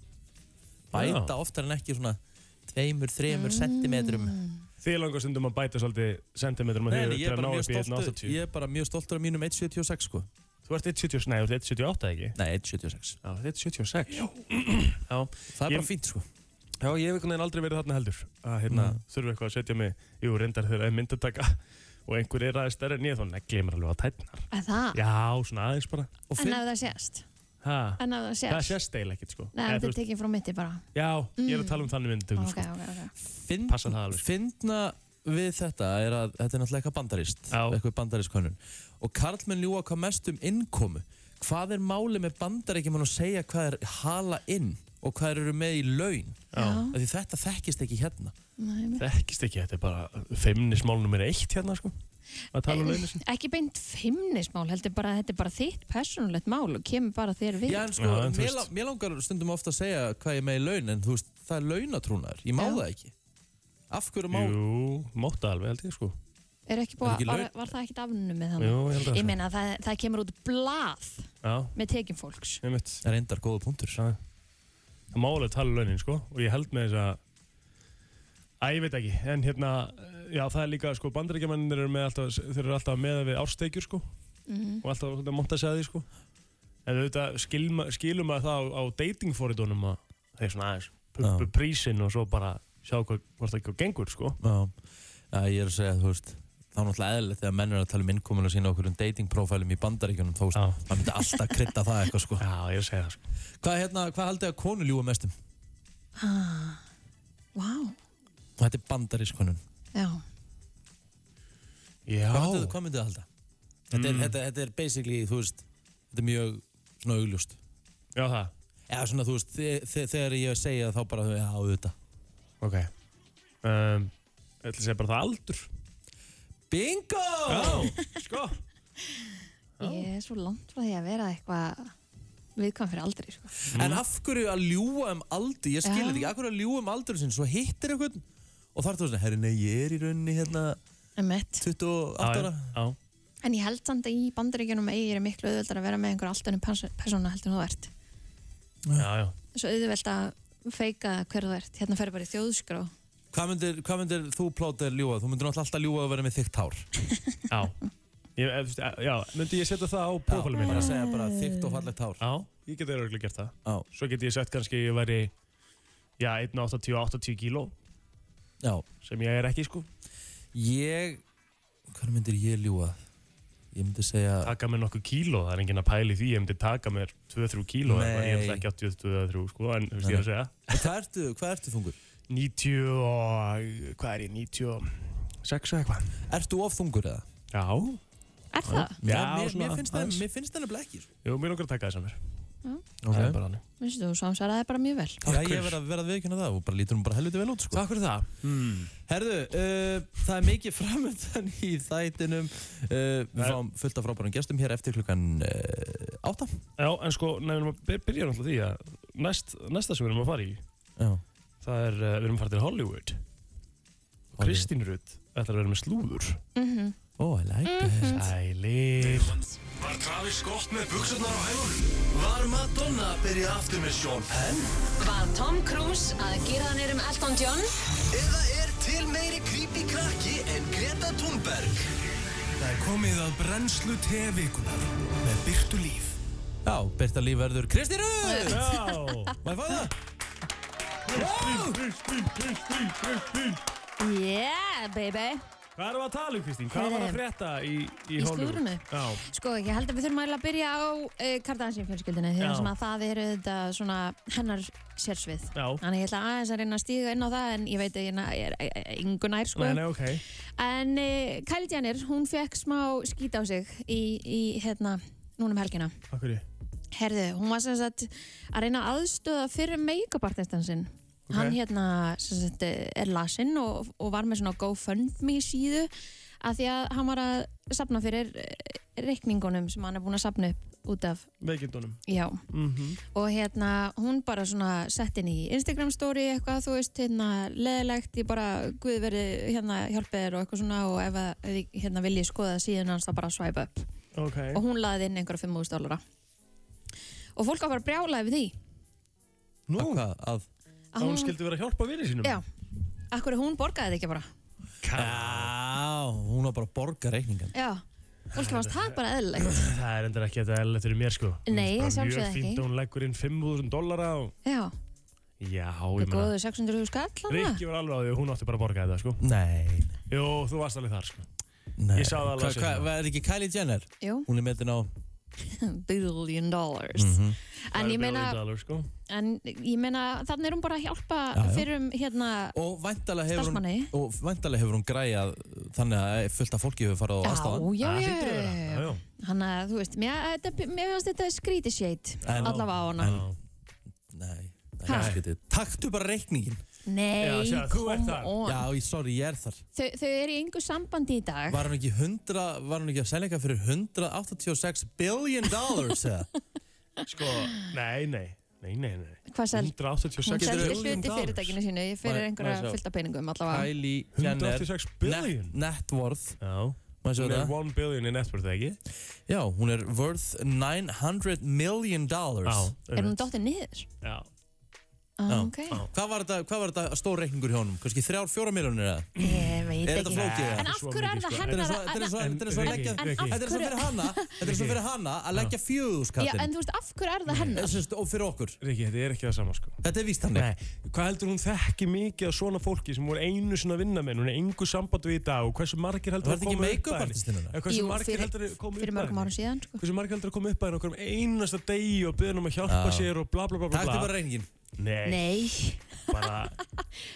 [SPEAKER 1] bæta oftar en ekki svona tveimur, þreimur sentimetrum
[SPEAKER 2] Þið langar stundum að bæta svolítið sentimetrum að
[SPEAKER 1] Nei,
[SPEAKER 2] þið
[SPEAKER 1] nei, ég,
[SPEAKER 2] til
[SPEAKER 1] er
[SPEAKER 2] að ná
[SPEAKER 1] bara mjög
[SPEAKER 2] upp í
[SPEAKER 1] stoltur,
[SPEAKER 2] 180.
[SPEAKER 1] ég er bara mjög stoltur af mínum 1.76 sko
[SPEAKER 2] Þú ert 1,70, nei, þú ert 1,78 ekki?
[SPEAKER 1] Nei, 1.76
[SPEAKER 2] Já, 1,76. Já.
[SPEAKER 1] Það er
[SPEAKER 2] Ég-
[SPEAKER 1] bara fínt sko
[SPEAKER 2] Já, ég hef einhvern veginn aldrei verið þarna heldur að hérna,
[SPEAKER 1] Nei.
[SPEAKER 2] þurfa eitthvað að setja mig jú, reyndar þegar það er myndataka og einhver er aðeins stærri en ég þá negli ég mér alveg á tætnar
[SPEAKER 4] Er það?
[SPEAKER 2] Já, svona aðeins bara
[SPEAKER 1] Og
[SPEAKER 4] En
[SPEAKER 1] fyrir,
[SPEAKER 4] ef það sést?
[SPEAKER 2] ha,
[SPEAKER 4] En ef það
[SPEAKER 2] Það
[SPEAKER 4] sést?
[SPEAKER 2] sést eiginlega ekkert sko
[SPEAKER 4] Nei,
[SPEAKER 2] Eða,
[SPEAKER 4] þetta
[SPEAKER 2] þú
[SPEAKER 4] er tekið frá mitti bara
[SPEAKER 2] veist, Já, ég er að tala um þannig myndatökum
[SPEAKER 4] Ok,
[SPEAKER 2] sko.
[SPEAKER 4] ok, ok
[SPEAKER 1] finn,
[SPEAKER 2] Passa það alveg, sko.
[SPEAKER 1] Finna við þetta er að þetta er náttúrulega eitthvað bandarist
[SPEAKER 2] Já.
[SPEAKER 1] eitthvað bandariskönnun og karlmenn ljúa hvað mest um innkomu hvað er máli með bandaríkjumann að segja hvað er hala inn og hvað þeir eru með í laun
[SPEAKER 2] Já.
[SPEAKER 1] Af því þetta þekkist ekki hérna
[SPEAKER 4] Nei, nei.
[SPEAKER 2] Þekkist ekki, þetta er bara femnismál nummer eitt hérna sko að tala um launin sín
[SPEAKER 4] Ekki beint fimmnismál, heldur bara að þetta er bara þitt persónulegt mál og kemur bara þér við
[SPEAKER 1] Já, en sko,
[SPEAKER 2] Já, en þú
[SPEAKER 1] mér,
[SPEAKER 2] veist-
[SPEAKER 1] la- mér langar stundum ofta að segja hvað ég er með í laun en þú veist, það er launatrúnar, ég má
[SPEAKER 4] Já.
[SPEAKER 1] það ekki af hverju má
[SPEAKER 2] Jú, móta alveg held ég sko
[SPEAKER 4] Er ekki
[SPEAKER 1] Er
[SPEAKER 4] búið,
[SPEAKER 1] ekki
[SPEAKER 4] var,
[SPEAKER 1] laun-
[SPEAKER 4] var það ekkit afnumið með
[SPEAKER 2] Jú,
[SPEAKER 4] þannig?
[SPEAKER 2] ég held að
[SPEAKER 4] Ég meina, það, það kemur út blað
[SPEAKER 2] Já,
[SPEAKER 4] með tekjum fólks.
[SPEAKER 2] ég mitt
[SPEAKER 1] það er endar góða punktur
[SPEAKER 2] Já. Það má alveg tala um launin sko og ég held með þess að Æ, ég veit ekki, en hérna, já, það er líka, sko, bandaríkjamennir eru með alltaf, þeir eru alltaf með við árstekjur, sko,
[SPEAKER 4] Mm.
[SPEAKER 2] og alltaf svolítið að monta sig að því, sko. En auðvitað skilma, skilum að það á, á datingforidunum að þeir svona aðeins pumpu
[SPEAKER 1] Já.
[SPEAKER 2] prísinn og svo bara sjá hvað, hvort það ekki gengur, sko.
[SPEAKER 1] Já, Já, ég er að segja, þú veist þá er náttúrulega eðlilegt þegar menn er að tala um innkomuna sína okkur um datingprofælum í bandaríkjunum þá veist,
[SPEAKER 2] Já,
[SPEAKER 1] maður myndi alltaf krydda það eitthvað sko
[SPEAKER 2] já, ég er að segja það, sko.
[SPEAKER 1] Hvað, hérna, hvað haldið að konu ljúa mestum?
[SPEAKER 4] Ah, Vá,
[SPEAKER 1] Þetta er bandarískonun
[SPEAKER 4] já.
[SPEAKER 2] Já.
[SPEAKER 1] Hvað myndið hvað myndið þið halda? Þetta, er,
[SPEAKER 2] Mm.
[SPEAKER 1] þetta, þetta er basically, þú veist Þetta er mjög svona augljóst
[SPEAKER 2] Já, það.
[SPEAKER 1] Eða svona, þú veist, þe þe þegar ég segja þá bara Já, auðvitað
[SPEAKER 2] Ok. Um, ég ætla að segja bara það aldur.
[SPEAKER 1] Bingo!
[SPEAKER 2] Já, sko. Já.
[SPEAKER 4] Ég er svo langt frá því að vera eitthvað viðkvæm fyrir aldrei, sko.
[SPEAKER 1] En
[SPEAKER 2] Mm.
[SPEAKER 1] af hverju að ljúa um aldur Ég skil
[SPEAKER 4] Já.
[SPEAKER 1] þetta ekki, af hverju að ljúa um aldur sinn Svo hittir eitthvað og þar er þú svona, herri, nei, ég er í rauninni hérna
[SPEAKER 4] Emmett.
[SPEAKER 1] 28 ára
[SPEAKER 2] Já, já.
[SPEAKER 4] En ég held samt að í bandaríkjunum eigir er miklu auðveldar að vera með einhver allt önnum persóna heldur en þú ert.
[SPEAKER 2] Já, já.
[SPEAKER 4] Svo auðveld að feika hver þú ert. Hérna fer bara í þjóðskrá.
[SPEAKER 1] Hvað myndir, hvað myndir þú plótið ljúa? Þú myndir náttúrulega alltaf ljúa að vera með þykkt hár
[SPEAKER 2] Já, ég, ef- veist, eh, já, myndi ég setja það á prófælum
[SPEAKER 1] Bara
[SPEAKER 2] minna?
[SPEAKER 1] að segja bara þykkt og fallegt hár
[SPEAKER 2] Já, ég geti örgulega gert það.
[SPEAKER 1] Já.
[SPEAKER 2] Svo geti ég sett kannski að ég væri, já, 1,80-80 kíló,
[SPEAKER 1] Já,
[SPEAKER 2] sem ég er ekki, sko.
[SPEAKER 1] ég Hvað myndir ég ljúa? Ég myndi segja
[SPEAKER 2] Taka mér nokkuð kíló, það er enginn að pæli því, ég myndi taka mér 2-3 kíló, en ég er
[SPEAKER 1] Nei.
[SPEAKER 2] náttúrulega ekki 80-23, sko, en þú veist ég er að segja.
[SPEAKER 1] En Hvað ertu, hvað ertu þungur?
[SPEAKER 2] 90 og, hvað er ég, 96 eða eitthvað?
[SPEAKER 1] Ertu of þungur eða?
[SPEAKER 2] Já,
[SPEAKER 4] Er það?
[SPEAKER 2] Já,
[SPEAKER 1] mér,
[SPEAKER 2] svona
[SPEAKER 1] mér finnst það,
[SPEAKER 2] aðeins.
[SPEAKER 1] mér finnst það nefnilega ekki sko.
[SPEAKER 2] jú, mér langar að taka það samir.
[SPEAKER 1] Það er bara hannig.
[SPEAKER 4] Vistu, þú samsvaraði bara mjög vel.
[SPEAKER 1] Já, ég verð að, verð að viðkynna það og bara lítur hún bara helviti vel út sko.
[SPEAKER 2] Takk fyrir það. Mm.
[SPEAKER 1] Herðu, uh, það er mikið framöndan í þættinum uh, Við
[SPEAKER 2] Nei.
[SPEAKER 1] fáum fullt af frábærum gestum hér eftir klukkan uh, 8
[SPEAKER 2] Já, en sko, nefnum að by- byrja náttúrulega því að næst, næsta sem við erum að fara í,
[SPEAKER 1] Já,
[SPEAKER 2] það er, uh, við erum að fara til Hollywood.
[SPEAKER 1] Hollywood.
[SPEAKER 2] Kristín Rutt ætlar að vera með slúður.
[SPEAKER 1] oh, I like this
[SPEAKER 2] Ælir.
[SPEAKER 5] Var Travis Scott með buksurnar á hægunum? Var Madonna að byrja aftur með Sean Penn?
[SPEAKER 6] Var Tom Cruise að gera hann um Elton John?
[SPEAKER 5] Eða er til meiri creepy krakki en Greta Thunberg? Það er komið að brennslu tevikunar með Byrtu Líf.
[SPEAKER 1] Já, Berta Líf verður Kristi Röð
[SPEAKER 2] Já.
[SPEAKER 1] Má ég fá það?
[SPEAKER 2] Kristín, Kristín, Kristín.
[SPEAKER 4] Yeah, baby!
[SPEAKER 2] Hvað erum við að tala um, Kristín? Hvað var að frétta í, í,
[SPEAKER 4] Í
[SPEAKER 2] Hollywood?
[SPEAKER 4] slúðrinu?
[SPEAKER 2] Já.
[SPEAKER 4] Sko, ég held að við þurfum eiginlega að byrja á uh, Kardashian-fjölskyldinu því
[SPEAKER 2] Já.
[SPEAKER 4] sem að það eru þetta svona hennar sérsvið.
[SPEAKER 2] Já.
[SPEAKER 4] Þannig að ég ætla aðeins að reyna að stíga inn á það en ég veit að ég na- ég er eh, engu nær sko.
[SPEAKER 2] Nei, nei, ok.
[SPEAKER 4] En uh, Kylie Jenner, hún fekk smá skít á sig í, í hérna, núna um helgina.
[SPEAKER 2] Akkur í.
[SPEAKER 4] Herðu, hún var sem sagt að reyna að aðstöða fyrir make-up-artistan sinn.
[SPEAKER 2] Ok.
[SPEAKER 4] Hann hérna sem sagt er lasinn og, og var með svona GoFundMe síðu að því að hann var að sapna fyrir eh, reikningunum sem hann er búin að sapna upp út af,
[SPEAKER 2] Veikindunum.
[SPEAKER 4] já.
[SPEAKER 2] Mm
[SPEAKER 4] Og hérna, hún bara svona sett inn í Instagram story eitthvað, þú veist, hérna, leðilegt, ég bara, guð veri, hérna, hjálpið þér og eitthvað svona og ef að, ef þið, hérna, viljið skoða síðan hans þá bara swipe up
[SPEAKER 2] Ok.
[SPEAKER 4] og hún laði inn einhverja 5.000 dólara og fólk var bara brjálaði við því
[SPEAKER 1] Nú Hvað, að
[SPEAKER 4] að
[SPEAKER 2] Að hún skildi vera að hjálpa vinið sínum?
[SPEAKER 4] já, akkur hún borgaði þetta ekki bara
[SPEAKER 1] Já, hún var bara að borga reikningan
[SPEAKER 4] já, fólk fannst það bara eðlilegt
[SPEAKER 2] Það er endur ekki þetta eðlilegt fyrir mér sko
[SPEAKER 4] Nei,
[SPEAKER 2] Það er
[SPEAKER 4] sjálfsögðu
[SPEAKER 2] Mjög fínt
[SPEAKER 4] ekki.
[SPEAKER 2] að hún leggur inn 5.000 dollara og...
[SPEAKER 4] já,
[SPEAKER 2] Já,
[SPEAKER 4] það
[SPEAKER 2] ég meina
[SPEAKER 4] góðu 600 skall hana.
[SPEAKER 2] Rikki var alveg á því, hún átti bara að borga þetta sko
[SPEAKER 1] Nei,
[SPEAKER 2] Jú, þú varst alveg þar sko
[SPEAKER 1] nei
[SPEAKER 2] Ég sá það alveg
[SPEAKER 1] Hvað,
[SPEAKER 2] seinna.
[SPEAKER 1] hva, er ekki Kylie Jenner?
[SPEAKER 4] jú,
[SPEAKER 1] Hún er metin á
[SPEAKER 4] billion dollars
[SPEAKER 2] Mhm.
[SPEAKER 4] en ég meina
[SPEAKER 2] dollar, sko.
[SPEAKER 4] en ég meina, þannig er hún bara að hjálpa
[SPEAKER 1] Já, já.
[SPEAKER 4] fyrir um hérna
[SPEAKER 1] Og væntalega hefur hún
[SPEAKER 4] Starfsmanni.
[SPEAKER 1] Og væntalega hefur hún græjað Þannig að fullt af fólki hefur farið á aðstofan
[SPEAKER 4] já,
[SPEAKER 2] Það
[SPEAKER 4] já,
[SPEAKER 2] hlýtur að vera. Já,
[SPEAKER 4] já
[SPEAKER 2] já.
[SPEAKER 4] hann að, þú veist, mér, eh, þetta- mér finnst þetta skrítið shade
[SPEAKER 1] En-
[SPEAKER 4] allavega á hana
[SPEAKER 1] en- Nei, það er
[SPEAKER 4] Ha?
[SPEAKER 1] ekki þetta Taktu bara reikningin
[SPEAKER 4] nei,
[SPEAKER 2] Já, sjá, þú ert
[SPEAKER 4] come
[SPEAKER 2] þar.
[SPEAKER 4] on
[SPEAKER 1] Já, ég, sorry, ég er þar
[SPEAKER 4] þau, þau eru í engu sambandi í dag
[SPEAKER 1] Var hún ekki, 100, var hún ekki að selja eitthvað fyrir 186 billion dollars eða?
[SPEAKER 2] sko, nei, nei Nei, nei, nei
[SPEAKER 4] hvað sel, hún
[SPEAKER 2] 186
[SPEAKER 4] seldi
[SPEAKER 1] billion
[SPEAKER 4] hluti
[SPEAKER 1] dollars.
[SPEAKER 4] fyrirtækinu sínu fyrir
[SPEAKER 1] Maður- maður
[SPEAKER 4] einhverja
[SPEAKER 1] sjá.
[SPEAKER 4] fullta peningum allavega
[SPEAKER 1] Kylie Jenner
[SPEAKER 2] 186 billion
[SPEAKER 1] net, net worth
[SPEAKER 2] Já
[SPEAKER 1] má ég sjá
[SPEAKER 2] Hún er
[SPEAKER 1] það?
[SPEAKER 2] 1 billion í networth, ekki?
[SPEAKER 1] Já, hún er worth 900 million dollars
[SPEAKER 4] er hún dóttir niður?
[SPEAKER 2] Já,
[SPEAKER 4] Ah,
[SPEAKER 1] Já.
[SPEAKER 4] ok,
[SPEAKER 2] Já.
[SPEAKER 1] Hvað var þetta, hvað var þetta stór reikningur hjá honum? Kanski þrjár, fjóra miljonir eða?
[SPEAKER 4] ég veit
[SPEAKER 1] Er þetta
[SPEAKER 4] ekki
[SPEAKER 1] flókið
[SPEAKER 4] en
[SPEAKER 1] eða?
[SPEAKER 4] af
[SPEAKER 2] Svo
[SPEAKER 4] hverju er
[SPEAKER 2] mikið,
[SPEAKER 4] það
[SPEAKER 2] sko.
[SPEAKER 1] Þetta er
[SPEAKER 4] hennar
[SPEAKER 1] svo- þetta er svo-
[SPEAKER 4] að-
[SPEAKER 1] þetta er svo að
[SPEAKER 2] Riki,
[SPEAKER 1] leggja
[SPEAKER 4] en
[SPEAKER 1] Þetta
[SPEAKER 4] af
[SPEAKER 1] er svo fyrir
[SPEAKER 4] hverju
[SPEAKER 1] hana Þetta er svo fyrir hana að leggja
[SPEAKER 4] Já, en
[SPEAKER 1] fjöðuskattin
[SPEAKER 4] þú veist, af hverju er það hennar?
[SPEAKER 1] Og fyrir okkur
[SPEAKER 2] Riki, þetta er ekki það sama, sko
[SPEAKER 1] Þetta er víst hann
[SPEAKER 2] Nei, hvað heldur hún þekki mikið af svona fólki sem voru einu svona vinna með henni, hún er engu samband við í dag og hversu margir heldur
[SPEAKER 1] Var þetta ekki
[SPEAKER 2] komu upp
[SPEAKER 1] make-up
[SPEAKER 2] að henni?
[SPEAKER 1] artistinn hennar?
[SPEAKER 2] Eða hversu
[SPEAKER 4] Jú,
[SPEAKER 2] margir
[SPEAKER 4] fyrir-
[SPEAKER 2] heldur komu upp
[SPEAKER 4] fyrir
[SPEAKER 2] að
[SPEAKER 4] mörgum
[SPEAKER 2] henni?
[SPEAKER 4] árum síðan sko.
[SPEAKER 2] hversu margir heldur að koma upp að henni okkur um einasta degi og byrja um að hjálpa
[SPEAKER 1] Já.
[SPEAKER 2] sér og bla bla bla bla
[SPEAKER 1] Taktu
[SPEAKER 2] bla.
[SPEAKER 1] bara reikningin
[SPEAKER 2] Nei,
[SPEAKER 4] Nei,
[SPEAKER 2] bara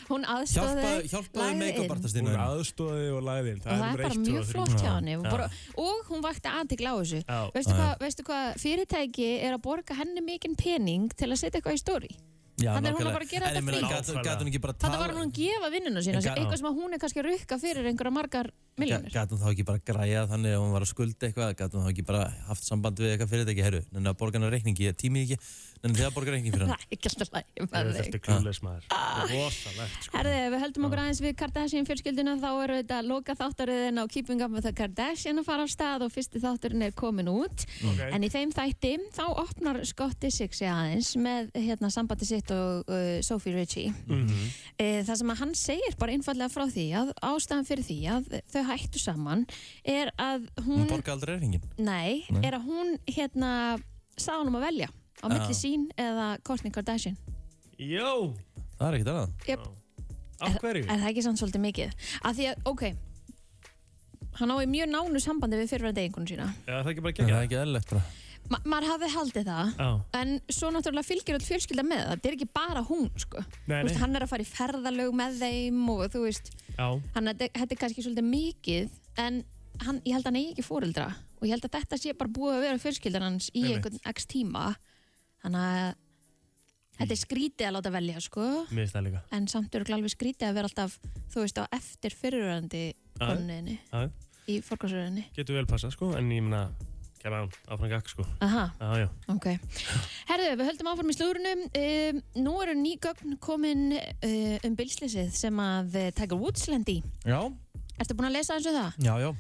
[SPEAKER 4] hún
[SPEAKER 1] Hjálpaðu
[SPEAKER 4] aðstóði
[SPEAKER 1] hjálpaðu make-up artistinn
[SPEAKER 2] hún
[SPEAKER 1] hennar
[SPEAKER 2] aðstóði og lagði inn
[SPEAKER 4] og það er bara mjög
[SPEAKER 2] sko.
[SPEAKER 4] flott hjá henni og,
[SPEAKER 2] Já.
[SPEAKER 4] bara, og hún vakti aðtikla á þessu
[SPEAKER 2] Já.
[SPEAKER 4] veistu
[SPEAKER 1] Já, já.
[SPEAKER 4] hvað, veistu hvað, fyrirtæki er að borga henni mikinn pening til að setja eitthvað í stóri
[SPEAKER 1] Já,
[SPEAKER 4] Þannig er hún
[SPEAKER 1] nákvæmlega.
[SPEAKER 4] að bara gera
[SPEAKER 1] En ég
[SPEAKER 4] þetta
[SPEAKER 1] meina,
[SPEAKER 4] frítt.
[SPEAKER 1] gat- Gat hún ekki bara
[SPEAKER 4] þetta var hún að gefa vinnuna sína
[SPEAKER 1] En
[SPEAKER 4] sem-
[SPEAKER 1] gat-
[SPEAKER 4] eitthvað sem að hún er kannski að rukka fyrir einhverja margar miljónir
[SPEAKER 1] Gat hún þá ekki bara græja þannig að hún var að skulda eitthvað Gat hún þá ekki bara haft samband við eitthvað fyrirtæki Herru, nenni að borga hennar reikningi, ég tími ekki Nenni þið að borga reikningi fyrir
[SPEAKER 4] það
[SPEAKER 1] hann
[SPEAKER 4] er ekki alltaf læg með þig
[SPEAKER 2] þetta er klúleis maður Ah.
[SPEAKER 4] Ah.
[SPEAKER 2] rosalegt sko
[SPEAKER 4] Herði, ef við höldum okkur aðeins við Kardashian fjölskylduna þá eru þetta loka þáttaröðin á Keeping Up with the Kardashian að fara af stað og fyrsti þátturinn er komin út
[SPEAKER 2] Ok.
[SPEAKER 4] en í þeim þætti þá opnar Scotti sig sig aðeins með hérna, sambandi sitt og uh, Sophie Ritchie
[SPEAKER 2] Mhm.
[SPEAKER 4] e, það sem að hann segir bara einfallega frá því að ástæðan fyrir því að þau hættu saman er að hún,
[SPEAKER 1] Hún borga aldrei reikningin
[SPEAKER 4] nei, er að hún hérna sá hann um að velja á milli sín eða Kourtney Kardashian
[SPEAKER 2] Jó,
[SPEAKER 1] Það er ekkert annað
[SPEAKER 4] yep.
[SPEAKER 2] af hverju?
[SPEAKER 4] Er það ekki samt svolítið mikið? Af því að, ok, hann á í mjög nánu sambandi við fyrirverandi eiginkonu sína.
[SPEAKER 2] Er það ekki bara
[SPEAKER 1] Það
[SPEAKER 2] gegja?
[SPEAKER 1] er ekki eðlilegt bara
[SPEAKER 4] Ma maður hafði haldið það,
[SPEAKER 2] Já,
[SPEAKER 4] en svo náttúrulega fylgir öll fjölskylda með það. Það er ekki bara hún, sko.
[SPEAKER 2] Nei,
[SPEAKER 4] Þú veist,
[SPEAKER 2] nei.
[SPEAKER 4] hann er að fara í ferðalög með þeim og þú veist,
[SPEAKER 2] já,
[SPEAKER 4] hann þetta þetta er kannski svolítið mikið, en hann, ég held að hann eigi ekki fóreldra og ég held að þetta sé bara búið að vera fjölskyldan hans í
[SPEAKER 2] Einmitt.
[SPEAKER 4] einhvern x tíma. Þannig að þetta er skrítið að láta velja sko
[SPEAKER 2] Mér finnst það líka
[SPEAKER 4] en samt eru alveg skrítið að vera alltaf þú veist á eftir fyrirverandi
[SPEAKER 2] Já.
[SPEAKER 4] konuninni
[SPEAKER 2] Já.
[SPEAKER 4] í fórkvæmsröðinni
[SPEAKER 2] Getur vel passað sko, en ég meina Kæma án, áfram gakk sko
[SPEAKER 4] Aha,
[SPEAKER 2] Já, já,
[SPEAKER 4] ok Herðu, við höldum áfram í slúrinu um, Nú eru ný gögn komin uh, um bilslýsið sem að eh, Tiger Woods lendi í
[SPEAKER 1] Já,
[SPEAKER 4] Ertu búin að lesa eins og það?
[SPEAKER 1] já, já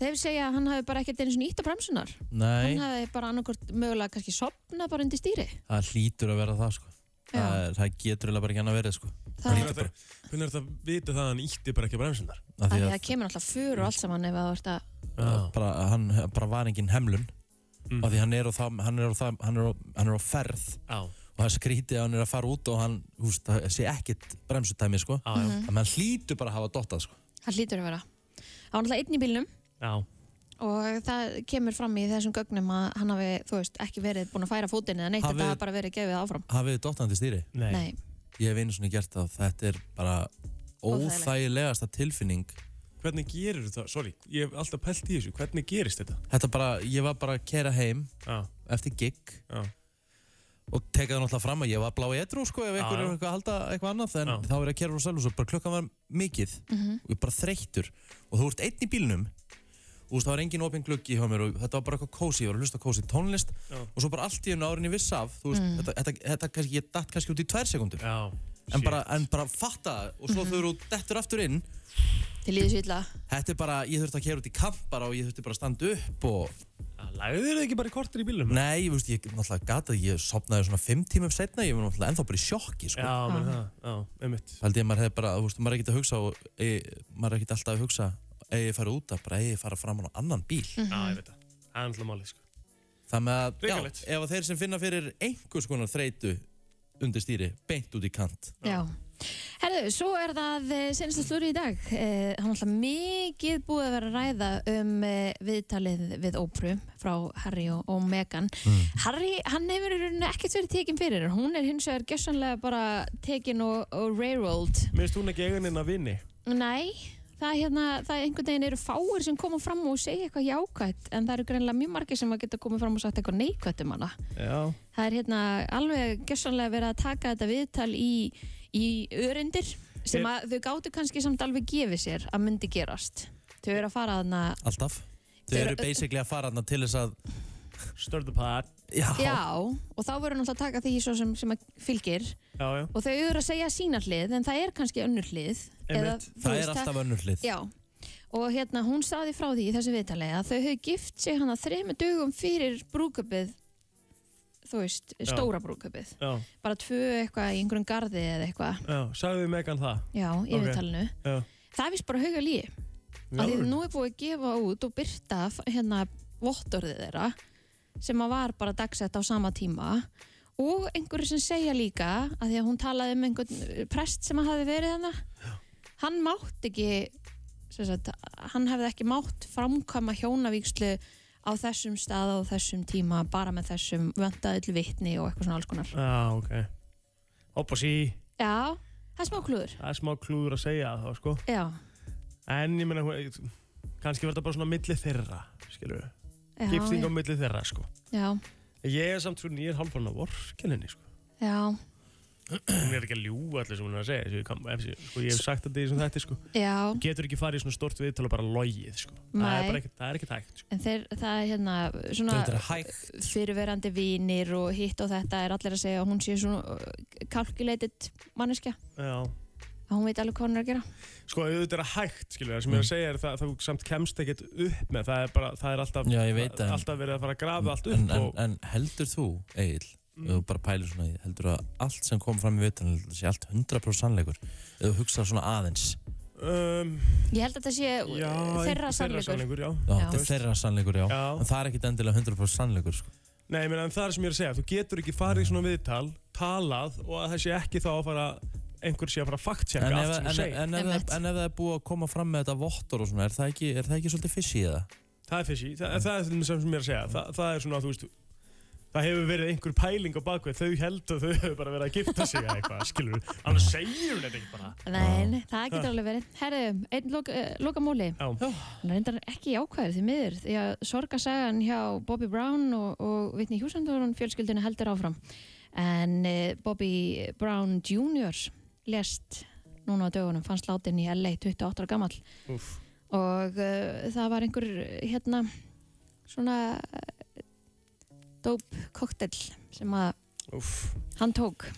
[SPEAKER 4] Þeir segja að hann hafi bara ekkert einu svona ítt á bremsunar
[SPEAKER 1] Nei,
[SPEAKER 4] Hann hafi bara annarkvort mögulega kannski sopnað bara undir stýri
[SPEAKER 1] það hlýtur að vera það sko Það,
[SPEAKER 4] Já,
[SPEAKER 1] er- það getur eiginlega bara ekki hann að vera sko
[SPEAKER 4] það,
[SPEAKER 1] lítur bara-
[SPEAKER 2] Hvernig er þetta að vita það að hann ítti bara ekki að bremsunar?
[SPEAKER 1] Af
[SPEAKER 4] að
[SPEAKER 1] því
[SPEAKER 4] því
[SPEAKER 1] að,
[SPEAKER 4] að það kemur alltaf fyrir og allt saman ef það vart að
[SPEAKER 2] Já,
[SPEAKER 1] bara, hann bara var engin hemlun
[SPEAKER 2] Mm.
[SPEAKER 1] af því hann er á það, hann er á það, hann er á, hann er á ferð
[SPEAKER 2] já,
[SPEAKER 1] og það skrítið að hann er að fara út og hann, húst, það sé ekkit bremsutæmi sko
[SPEAKER 2] já, já,
[SPEAKER 1] Þannig að hann hlýtur bara að hafa dottað sko
[SPEAKER 4] hann hlýtur að vera Það var alltaf einn í bílnum
[SPEAKER 2] já.
[SPEAKER 4] og það kemur fram í þessum gögnum að hann hafi, þú veist, ekki verið búin að færa fótinn eða neitt,
[SPEAKER 1] Hafi-
[SPEAKER 4] þetta hafi bara verið gefið áfram.
[SPEAKER 1] Hafið dottandi stýri
[SPEAKER 2] Nei.
[SPEAKER 4] Nei,
[SPEAKER 1] Ég hef einu svona gert það, þetta er bara
[SPEAKER 4] Óþægilegt.
[SPEAKER 1] óþægilegasta tilfinning
[SPEAKER 2] Hvernig gerir það? Sorry, ég hef alltaf pælt í þessu Hvernig gerist þetta?
[SPEAKER 1] Þetta bara, ég var bara að kera heim
[SPEAKER 2] Já,
[SPEAKER 1] eftir gig
[SPEAKER 2] já,
[SPEAKER 1] og teka það náttúrulega fram að ég var blá í edru sko ef
[SPEAKER 2] Já,
[SPEAKER 1] einhver er
[SPEAKER 2] já.
[SPEAKER 1] eitthvað að halda eitthvað annað en
[SPEAKER 2] Já.
[SPEAKER 1] þá er ég að kera frá sjálf og svo bara klukkan var mikið og ég er bara þreyttur og þú ert einn í bílnum og þú veist það var engin opinn gluggi hjá mér og þetta var bara eitthvað kósi, ég var að hlusta á kósi tónlist
[SPEAKER 2] Já.
[SPEAKER 1] og svo bara allt í einu árinni viss af þú veist, þetta, þetta, þetta kannski, ég datt kannski út í tvær sekundur
[SPEAKER 2] já
[SPEAKER 1] en
[SPEAKER 2] shit.
[SPEAKER 1] bara, en bara fatta það og svo þegar þú dettur aftur inn
[SPEAKER 4] til líðis illa.
[SPEAKER 1] þetta er bara, ég þurfti að kera út í kamp bara og ég þurfti bara að standa upp og
[SPEAKER 2] Já, Lagðu þér það ekki bara í kortir í bílum?
[SPEAKER 1] nei, ég veist, ég náttúrulega gata ég sopnaði svona fimm tímum setna, ég var náttúrulega ennþá bara í sjokki sko.
[SPEAKER 2] Já, menn
[SPEAKER 4] Ah.
[SPEAKER 2] það, já, einmitt
[SPEAKER 1] Það held ég að maður hefði bara, þú veist, maður er ekkert að hugsa og e, maður er ekkert alltaf að hugsa eigi ég fara út að bara eigi ég fara fram á annan bíl
[SPEAKER 4] Mm. Mhm.
[SPEAKER 2] Já, ég veit það Það er alltaf málið, sko
[SPEAKER 1] þannig að, já,
[SPEAKER 2] Hrikalegt.
[SPEAKER 1] ef að þeir sem finna fyrir einhvers konar þreytu undir stýri, beint út í kant
[SPEAKER 4] Já. Herðu, svo er það senast að slúri í dag. Eh, hann er alltaf mikið búið að vera að ræða um eh, viðtalið við Ópru frá Harry og, og Meghan. Harry, hann hefur í rauninni ekkert verið tekin fyrir. Hún er hins vegar gessanlega bara tekin og, og railroad
[SPEAKER 2] Mér finnst hún ekki eiga neina vini
[SPEAKER 4] Nei, það, hérna, það einhvern veginn eru fáir sem koma fram og segja eitthvað jákvætt en það eru greinlega mjög margir sem að geta komið fram og sagt eitthvað neikvætt um hana.
[SPEAKER 2] Já,
[SPEAKER 4] Það er hérna alveg gessanlega verið að taka þetta viðtal í, í öryndir sem að þau gáttu kannski samt alveg gefið sér að myndi gerast. Þau eru að fara þarna,
[SPEAKER 1] alltaf, þau
[SPEAKER 4] Þeir-
[SPEAKER 1] eru basically að fara þarna til þess að
[SPEAKER 2] stir the pot
[SPEAKER 1] já,
[SPEAKER 4] já, og þá verður náttúrulega að taka því svo sem, sem að fylgir
[SPEAKER 2] Já, já,
[SPEAKER 4] og þau eru að segja sína hlið en það er kannski önnur hlið.
[SPEAKER 2] Einmitt.
[SPEAKER 4] þú
[SPEAKER 1] það
[SPEAKER 4] veist,
[SPEAKER 1] er alltaf önnur hlið
[SPEAKER 4] Já, og hérna hún saði frá því í þessu viðtali að þau hefðu gift sig hann að þrema dögum fyrir brúköpið þú veist, stóra brúköpið
[SPEAKER 2] já,
[SPEAKER 4] bara tvö eitthvað í einhverjum garði eða eitthvað,
[SPEAKER 2] já Sagðu við Megan það
[SPEAKER 4] já, í
[SPEAKER 2] Ok.
[SPEAKER 4] viðtalinu
[SPEAKER 2] Já,
[SPEAKER 4] það er vist bara hauga líi
[SPEAKER 2] Já,
[SPEAKER 4] að því nú er búið að gefa út og byrta hérna vottorðið þeirra sem að var bara dagsett á sama tíma og einhverju sem segja líka að því að hún talaði um einhvern prest sem að hafi verið hana hann mátt ekki sem sagt, hann hefði ekki mátt framkvæma hjónavíkslu á þessum stað og þessum tíma bara með þessum vöndaði til vitni og eitthvað svona alls konar
[SPEAKER 2] já, ok Hopp og sí,
[SPEAKER 4] Já, það er smá klúður
[SPEAKER 2] það er smá klúður að segja það, sko
[SPEAKER 4] Já,
[SPEAKER 2] En ég meina, hún- kannski verður það bara svona milli þeirra, skilur við
[SPEAKER 4] já,
[SPEAKER 2] Gifting á
[SPEAKER 4] já,
[SPEAKER 2] milli þeirra, sko
[SPEAKER 4] já,
[SPEAKER 2] Ég er samt svona, ég er hálfrán að vorkenninni, sko
[SPEAKER 4] já,
[SPEAKER 2] Hún er ekki að ljúga allir sem hún er að segja þessu, ég kann- ef- Sko, ég hef sagt þetta í þessum þætti, sko
[SPEAKER 4] já.
[SPEAKER 2] Getur ekki farið í svona stort viðtal og bara logið, sko Það er
[SPEAKER 4] Nei.
[SPEAKER 2] bara ekki, það er ekki tækt, sko
[SPEAKER 4] En þeir, það er hérna
[SPEAKER 1] þetta er
[SPEAKER 4] svona
[SPEAKER 1] hægt
[SPEAKER 4] fyrirverandi vinir og hitt og þetta er allir að segja að hún sé svona uh, calculated manneskja
[SPEAKER 2] Já
[SPEAKER 4] að hún veit alveg hvað hún er að gera
[SPEAKER 2] Sko, auðvitað er það hægt, skilur það sem
[SPEAKER 1] Mm.
[SPEAKER 2] ég er að segja er það, það þú samt kemst ekkert upp með það er bara, það er alltaf,
[SPEAKER 1] Já, ég veit það, en-
[SPEAKER 2] alltaf verið að fara að grafa allt upp
[SPEAKER 1] en, en,
[SPEAKER 2] og, Mm.
[SPEAKER 1] en heldur þú, Egil ef þú bara pælir svona, í- heldur þú að allt sem kom fram í vitan, heldur þú að sé allt 100% sannleikur ef þú hugsa svona aðeins
[SPEAKER 2] um,
[SPEAKER 4] Ég held að þetta sé uh,
[SPEAKER 2] já,
[SPEAKER 4] þeirra sannleikur
[SPEAKER 2] sannleikur já.
[SPEAKER 1] Já,
[SPEAKER 4] Já.
[SPEAKER 1] þetta er þeirra sannleikur, já.
[SPEAKER 2] Já.
[SPEAKER 1] En það er ekkit endilega 100% sannleikur, sko.
[SPEAKER 2] Nei, menn, en það er sem ég er að segja, þú getur ekki farið
[SPEAKER 1] Mm.
[SPEAKER 2] í svona viðtal, talað og að það sé ekki þá að fara, einhver sé að fara að
[SPEAKER 1] En
[SPEAKER 2] faktjaka
[SPEAKER 1] ef, en,
[SPEAKER 2] allt sem þú
[SPEAKER 1] en,
[SPEAKER 2] segir
[SPEAKER 1] en, ef,
[SPEAKER 4] Einmitt.
[SPEAKER 1] það- en ef það er búið að koma fram með þetta vottor og svona, er það ekki, er það ekki svolítið fishy eða? Mm.
[SPEAKER 2] Það er fishy, það, það er það sem ég er að segja það, það er svona, þú veist það hefur verið einhver pæling á bakvið þau held að þau hefur bara verið að gifta sig eða eitthvað, skilur við, annars segir hún þetta ekki bara
[SPEAKER 4] Nei, nei, það getur alveg verið. Herðu, einn loka, uh, lokamóli.
[SPEAKER 2] Já,
[SPEAKER 4] Hún er reyndar ekki jákvæður því miður því að sorgasagan hjá Bobby Brown og, og Whitney Houston fjölskyldinu heldur áfram. En uh, Bobby Brown Jr. lest núna á dögunum, fannst látin í LA 28 ára gamall
[SPEAKER 2] úff,
[SPEAKER 4] og uh, það var einhver hérna svona eh, dope cocktail sem að
[SPEAKER 2] úff
[SPEAKER 4] hann tók.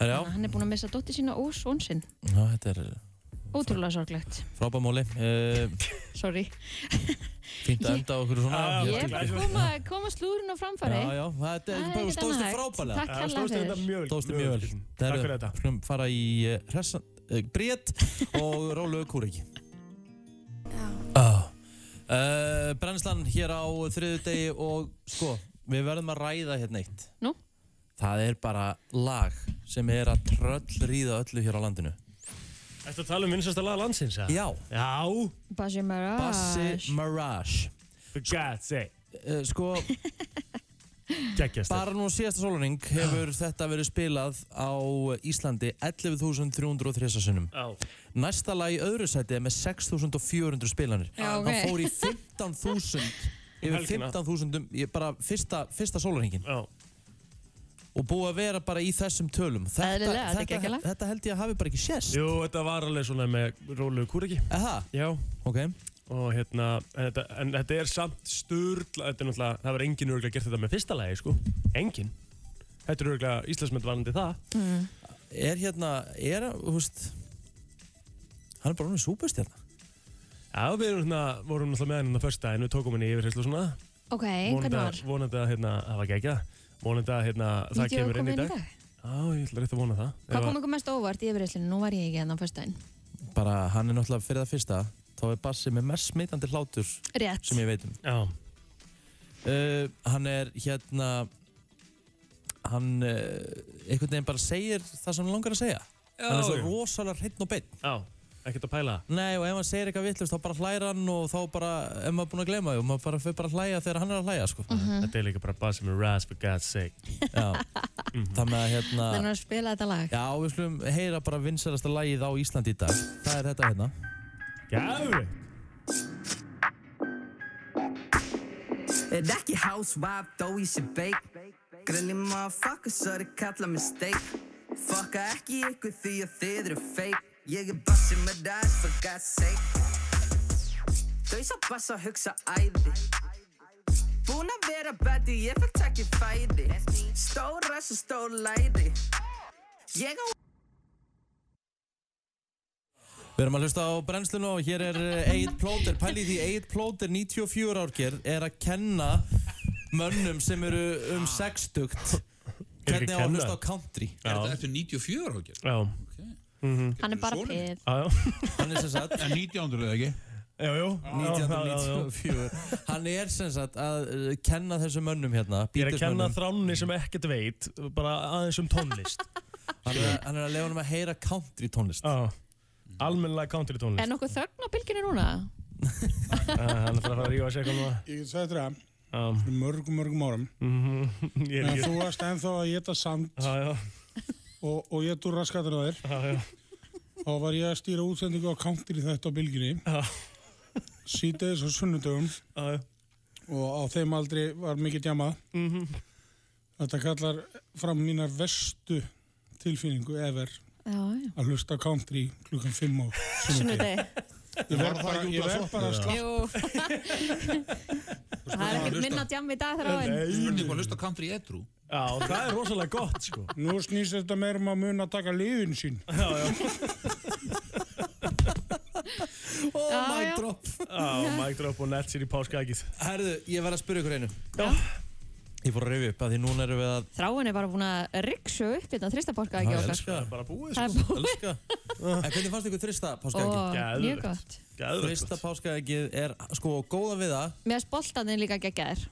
[SPEAKER 1] Herra,
[SPEAKER 4] Þannig að Hann er búinn að missa dótti sína og svon sinn.
[SPEAKER 1] já, já, þetta er
[SPEAKER 4] Ótrúlega sorglegt.
[SPEAKER 1] frábæmóli. Uh,
[SPEAKER 4] Sorry.
[SPEAKER 1] fínt að enda á okkur svona.
[SPEAKER 2] Já, já,
[SPEAKER 1] Ég-
[SPEAKER 4] Ég er bara að koma, koma slúðurinn á framfæri.
[SPEAKER 1] Já, já, þetta
[SPEAKER 4] Það
[SPEAKER 1] er
[SPEAKER 4] er
[SPEAKER 1] bara
[SPEAKER 4] ekkert
[SPEAKER 1] stóðst
[SPEAKER 4] annað hægt.
[SPEAKER 1] frábælega.
[SPEAKER 4] Takk
[SPEAKER 2] Það
[SPEAKER 4] hérlega
[SPEAKER 2] stóðst
[SPEAKER 4] fyrir.
[SPEAKER 2] þetta mjög vel.
[SPEAKER 1] Stóðst þér mjög vel.
[SPEAKER 2] Takk fyrir þetta
[SPEAKER 1] Skulum fara í uh, hressan, uh, brét og rólu kúriki. Já. Uh, brennslan hér á þriðu degi og sko, við verðum að ræða hérna eitt.
[SPEAKER 4] Nú?
[SPEAKER 1] Það er bara lag sem er að tröll ríða öllu hér á landinu.
[SPEAKER 2] Ertu að tala um vinsasta lag landsins, eða?
[SPEAKER 1] Já,
[SPEAKER 2] Já,
[SPEAKER 4] Bassi Mirage.
[SPEAKER 1] Bassi Mirage.
[SPEAKER 2] for God's sake,
[SPEAKER 1] Uh, sko,
[SPEAKER 2] geggjast
[SPEAKER 1] bara nú síðasta sóluning hefur þetta verið spilað á Íslandi 11.303 sinnum.
[SPEAKER 2] Já,
[SPEAKER 1] Næsta lag í öðru sæti er með 6.400 spilanir.
[SPEAKER 4] Já, ok.
[SPEAKER 1] Hann fór í 15.000 yfir
[SPEAKER 2] Helgina.
[SPEAKER 1] 15.000 um- ég- bara fyrsta, fyrsta sólarhingin
[SPEAKER 2] já,
[SPEAKER 1] og búið að vera bara í þessum tölum. Þetta,
[SPEAKER 4] Eðlilega, þetta er
[SPEAKER 1] þetta,
[SPEAKER 4] geggjala.
[SPEAKER 1] þetta held ég að hafi bara ekki sést.
[SPEAKER 2] jú, þetta var alveg svona með rólu kúriki
[SPEAKER 1] Aha,
[SPEAKER 2] Já,
[SPEAKER 1] ok.
[SPEAKER 2] og hérna, en þetta, en þetta er samt sturla, þetta er náttúrulega, það var enginn örgulega gert þetta með fyrsta lagi, sko, enginn. Þetta er örgulega Íslandsmynd varandi það.
[SPEAKER 1] Er hérna, er, þú veist, hann er bara hérna. honum súpustjarna.
[SPEAKER 2] Já, við erum hérna, vorum náttúrulega með hann hérna fyrsta, en við tókum henni yfir hérna svona.
[SPEAKER 4] Ok, hvernig
[SPEAKER 2] Vonandi
[SPEAKER 4] var?
[SPEAKER 2] að- Vonandi að, hérna, það var gegja. Vonandi að, hérna, það
[SPEAKER 4] Vídeóið
[SPEAKER 2] kemur inn
[SPEAKER 4] komið
[SPEAKER 2] í dag. Já, ég ætla rétt að vona það.
[SPEAKER 4] Hvað kom ykkur mest á óvart í yfirreyslinu? Nú var ég ekki enn á föstudaginn.
[SPEAKER 1] Bara hann er náttúrulega fyrir það fyrsta, þá er Bassi með mest smitandi hlátur
[SPEAKER 4] Rétt.
[SPEAKER 1] sem ég veit um.
[SPEAKER 2] Já,
[SPEAKER 1] Uh, hann er hérna hann uh, einhvern veginn bara segir það sem hann langar að segja hann er svo
[SPEAKER 2] já.
[SPEAKER 1] rosalega hreinn og beinn
[SPEAKER 2] Já, ekkert að pæla
[SPEAKER 1] Nei, og ef hann segir eitthvað vittlust þá bara hlæra hann og þá bara, ef maður er búinn að gleyma því og maður bara fyrir bara að hlæja þegar hann er að hlæja sko.
[SPEAKER 4] Mhm.
[SPEAKER 2] Þetta er líka bara bara sem er ras for God's sake
[SPEAKER 1] Já. þannig að hérna
[SPEAKER 4] Þannig að spila þetta lag.
[SPEAKER 1] já, við slum heyra bara vinsælasta lagið á Íslandi í dag það er þetta hérna
[SPEAKER 2] Gæður
[SPEAKER 7] Er ekki housewife þó ég sé bake Grilli motherfucker svo þið kalla mig steak Fucka ekki ykkur því að þið eru fake Ég er bassi með dæs for God's sake Þau sá bass og hugsa æði Búin að vera bæti, ég fekk takk í fæði Stóra svo stór læði Ég á
[SPEAKER 1] Við erum að hlusta á brennsluna og hér er eh, Egill Plóter, pælið því Egill Plóter 94 árgerð er að kenna mönnum sem eru um sextugt
[SPEAKER 2] Er
[SPEAKER 1] hvernig
[SPEAKER 2] ekki
[SPEAKER 1] á að
[SPEAKER 2] kenna?
[SPEAKER 1] hlusta á country
[SPEAKER 2] Já,
[SPEAKER 8] Er þetta eftir 94 ákjör?
[SPEAKER 2] já,
[SPEAKER 4] Hann er bara
[SPEAKER 8] Sonurinn?
[SPEAKER 4] pið.
[SPEAKER 2] já, já
[SPEAKER 1] hann er sem sagt
[SPEAKER 8] En 1900 eða ekki?
[SPEAKER 2] Já, já, já, já, já.
[SPEAKER 1] 1994 hann er sem sagt að eh, kenna þessum mönnum hérna
[SPEAKER 2] Ég er að kenna
[SPEAKER 1] Beatles-mönnum.
[SPEAKER 2] þránni sem ekkert veit bara aðeins um tónlist
[SPEAKER 1] hann er, hann er að lefa hann að heyra country tónlist
[SPEAKER 2] Já Almennilega country tónlist Ah,
[SPEAKER 4] Er nokkuð þögn á bylginu núna?
[SPEAKER 2] Þannig að það fara að rífa sér eitthvað núna
[SPEAKER 9] Ég get sagt þér að
[SPEAKER 2] Já,
[SPEAKER 9] fyrir mörgum, mörgum árum
[SPEAKER 2] mhm, Ég er
[SPEAKER 9] en
[SPEAKER 2] ekki
[SPEAKER 9] þú varst ennþá að geta sand
[SPEAKER 2] Já, já,
[SPEAKER 9] og, og ég dúr raskatur á þér
[SPEAKER 2] já, já
[SPEAKER 9] þá var ég að stýra útsendingu á country þetta á bylginni
[SPEAKER 2] Já.
[SPEAKER 9] sítiðis og sunnudögum
[SPEAKER 2] Já, já.
[SPEAKER 9] og á þeim aldri var mikið djamað
[SPEAKER 2] Mhm.
[SPEAKER 9] þetta kallar fram mínar vestu tilfinningu ever
[SPEAKER 4] Já, já.
[SPEAKER 9] að hlusta á country klukkan 5 og
[SPEAKER 4] Sunnudegi.
[SPEAKER 9] ég verð bara, ég verð bara að slappa
[SPEAKER 4] Jú. Það er ekkert minna djam í dag þar á enn.
[SPEAKER 8] Spurning var að hlusta country edru
[SPEAKER 2] Já, og það er rosalega gott, sko
[SPEAKER 9] nú snýst þetta meira um að muna að taka liðin sín
[SPEAKER 1] oh
[SPEAKER 4] Já,
[SPEAKER 1] my
[SPEAKER 4] já.
[SPEAKER 1] drop
[SPEAKER 2] Já, mic drop og nett sér í páskagið
[SPEAKER 1] herðu, ég verð að spyrja ykkur einu
[SPEAKER 2] Já.
[SPEAKER 1] ég fór að reyfi upp að því núna erum við að
[SPEAKER 4] Þráin er bara búin að ryggsu upp hérna þristaborka ekki
[SPEAKER 1] Já,
[SPEAKER 4] okkar.
[SPEAKER 1] elska,
[SPEAKER 2] Bara búið,
[SPEAKER 4] Það
[SPEAKER 2] sko
[SPEAKER 4] er búin.
[SPEAKER 1] elska. en hvernig fannst ykkur þrista páskaeggi?
[SPEAKER 4] Og
[SPEAKER 2] Geðveikt.
[SPEAKER 4] mjög gott.
[SPEAKER 2] Gæður
[SPEAKER 1] Þrista páskaeggið er sko góða við það
[SPEAKER 4] Mér er spoltaninn líka geggjaðir.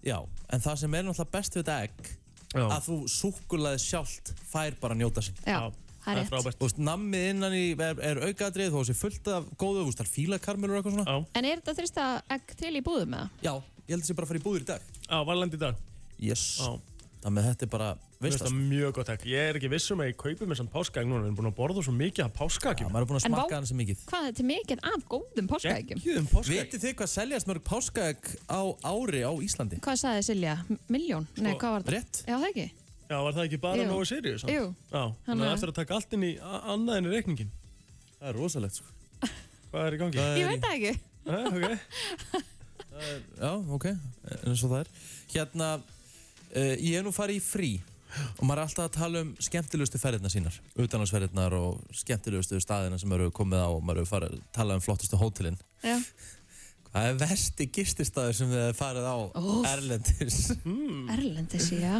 [SPEAKER 1] Já, en það sem er náttúrulega best við þetta egg
[SPEAKER 2] Já,
[SPEAKER 1] að þú súkkulaði sjálft fær bara að njóta sín
[SPEAKER 4] Já,
[SPEAKER 2] Já,
[SPEAKER 4] það er rétt.
[SPEAKER 2] frábært
[SPEAKER 1] Þú veist, nammið innan í er, er aukaðrið þú sé fullt af góðu, þú veist, það er fílakarmelur og eitthvað svona
[SPEAKER 2] Já.
[SPEAKER 4] En er þetta þrista egg til í búðum eða?
[SPEAKER 1] Já, ég held að það sé bara að fara í búður í dag
[SPEAKER 2] Já, var land í dag
[SPEAKER 1] Yes
[SPEAKER 2] Já,
[SPEAKER 1] Þannig að þetta er bara
[SPEAKER 2] Veist
[SPEAKER 1] veistast
[SPEAKER 2] það mjög gott takk. Ég er ekki viss um að ég kaupi mér samt páskaegg núna. Við erum búin að borða svo mikið af páskaeggjum.
[SPEAKER 1] Maður er búin að
[SPEAKER 4] En vá-
[SPEAKER 1] smakka hann sem mikið
[SPEAKER 4] Hvað, þetta er mikið af góðum páskaeggjum?
[SPEAKER 2] Ekki um páskaegg.
[SPEAKER 1] Vitið þið hvað seljast mörg páskaegg á ári á Íslandi?
[SPEAKER 4] Hvað sagði Silja? M- Milljón? Nei,
[SPEAKER 1] Sko.
[SPEAKER 4] hvað var þetta?
[SPEAKER 1] Rétt?
[SPEAKER 4] Já, það ekki?
[SPEAKER 2] Já, var það ekki bara
[SPEAKER 4] Jú.
[SPEAKER 2] Nóa Sirius? samt?
[SPEAKER 4] Jú.
[SPEAKER 2] Já, þannig að
[SPEAKER 4] Þannig að-
[SPEAKER 2] eftir að taka allt inn í a- annað en í reikningin.
[SPEAKER 1] Það er rosalegt sko.
[SPEAKER 2] Hvað er í gangi?
[SPEAKER 1] Það er
[SPEAKER 4] Ég
[SPEAKER 1] í-
[SPEAKER 4] veit það ekki.
[SPEAKER 2] Æ, ok.
[SPEAKER 1] Já, ok, eins og það er Hérna, uh, ég er nú farið í frí og maður er alltaf að tala um skemmtilegustu ferðirnar sínar utanlandsferðirnar og skemmtilegustu staðina sem maður hefur komið á og maður hefur farið að tala um flottustu hótelin
[SPEAKER 4] Já.
[SPEAKER 1] Hvað er versti gististaður sem við hefur farið á
[SPEAKER 4] Úff.
[SPEAKER 1] Erlendis? Mm.
[SPEAKER 4] Erlendis, já.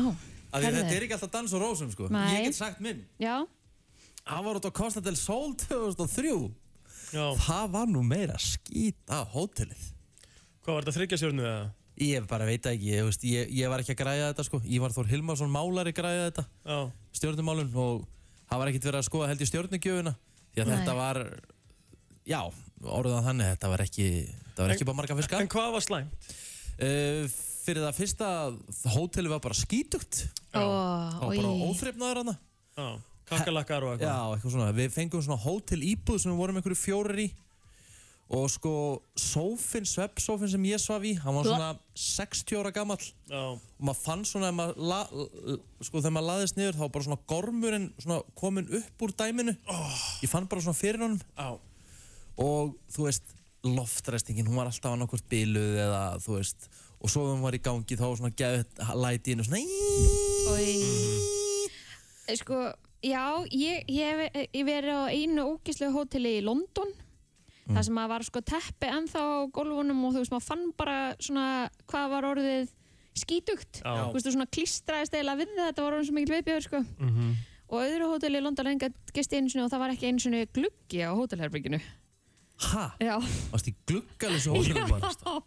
[SPEAKER 1] Af því
[SPEAKER 4] Mhm. Herðu.
[SPEAKER 1] þetta er ekki alltaf dans og rósum sko
[SPEAKER 4] Nei.
[SPEAKER 1] Ég get sagt minn
[SPEAKER 4] Já.
[SPEAKER 1] Hann var út á Costa del Sol 2003
[SPEAKER 2] Já,
[SPEAKER 1] Það var nú meira skýt á hótelið
[SPEAKER 2] hvað var þetta þryggja stjórnu eða?
[SPEAKER 1] Ég bara veit það ekki, ég, veist, ég, ég var ekki að græja þetta sko Ívar Þór Hilmarsson málari græja þetta
[SPEAKER 2] Já.
[SPEAKER 1] stjórnumálun og það var ekkert verið að skoða held í stjórnugjöfuna því að
[SPEAKER 4] Nei.
[SPEAKER 1] þetta var já, orðan þannig, þetta var ekki þetta var ekki bara marga fiska
[SPEAKER 2] En hvað var slæmt?
[SPEAKER 1] uh, fyrir það fyrsta, hóteli var bara skítugt
[SPEAKER 2] Já.
[SPEAKER 1] það var bara óþreifnaður hana
[SPEAKER 2] Já, kakalakkar og
[SPEAKER 1] já,
[SPEAKER 2] eitthvað.
[SPEAKER 1] eitthvað svona, við fengum svona hótel íbúð sem við vorum einhverju fjórir í og sko, sófinn, sveppsófinn sem ég svaf í, hann var svona 60 ára gamall
[SPEAKER 2] Já.
[SPEAKER 1] og maður fann svona að maður la, sko þegar maður laðist niður þá var bara svona gormurinn svona komin upp úr dæminu ég fann bara svona fyrir honum
[SPEAKER 2] Já.
[SPEAKER 1] og þú veist loftrestingin, hún var alltaf annarkvort biluð eða þú veist og svo þegar hún var í gangi þá var svona geðið læti inn og svona
[SPEAKER 4] Eh, Sko, já, ég, ég, hef- eh, ég verið á einu ógislegu hóteli í London. Það sem að var sko teppi ennþá á gólfunum og þú veist, maður fann bara svona hvað var orðið skítugt.
[SPEAKER 2] Já.
[SPEAKER 4] Þú veist, þú svona klístraðist eiginlega við það, þetta var orðin svo mikil viðbjörn, sko.
[SPEAKER 2] Mhm.
[SPEAKER 4] Og öðru hóteli í London enga gesti einu sinni og það var ekki einu sinni gluggi á hótelherbygginu.
[SPEAKER 1] ha,
[SPEAKER 4] Já.
[SPEAKER 1] varst í gluggalösu hóðunum bara
[SPEAKER 4] Já,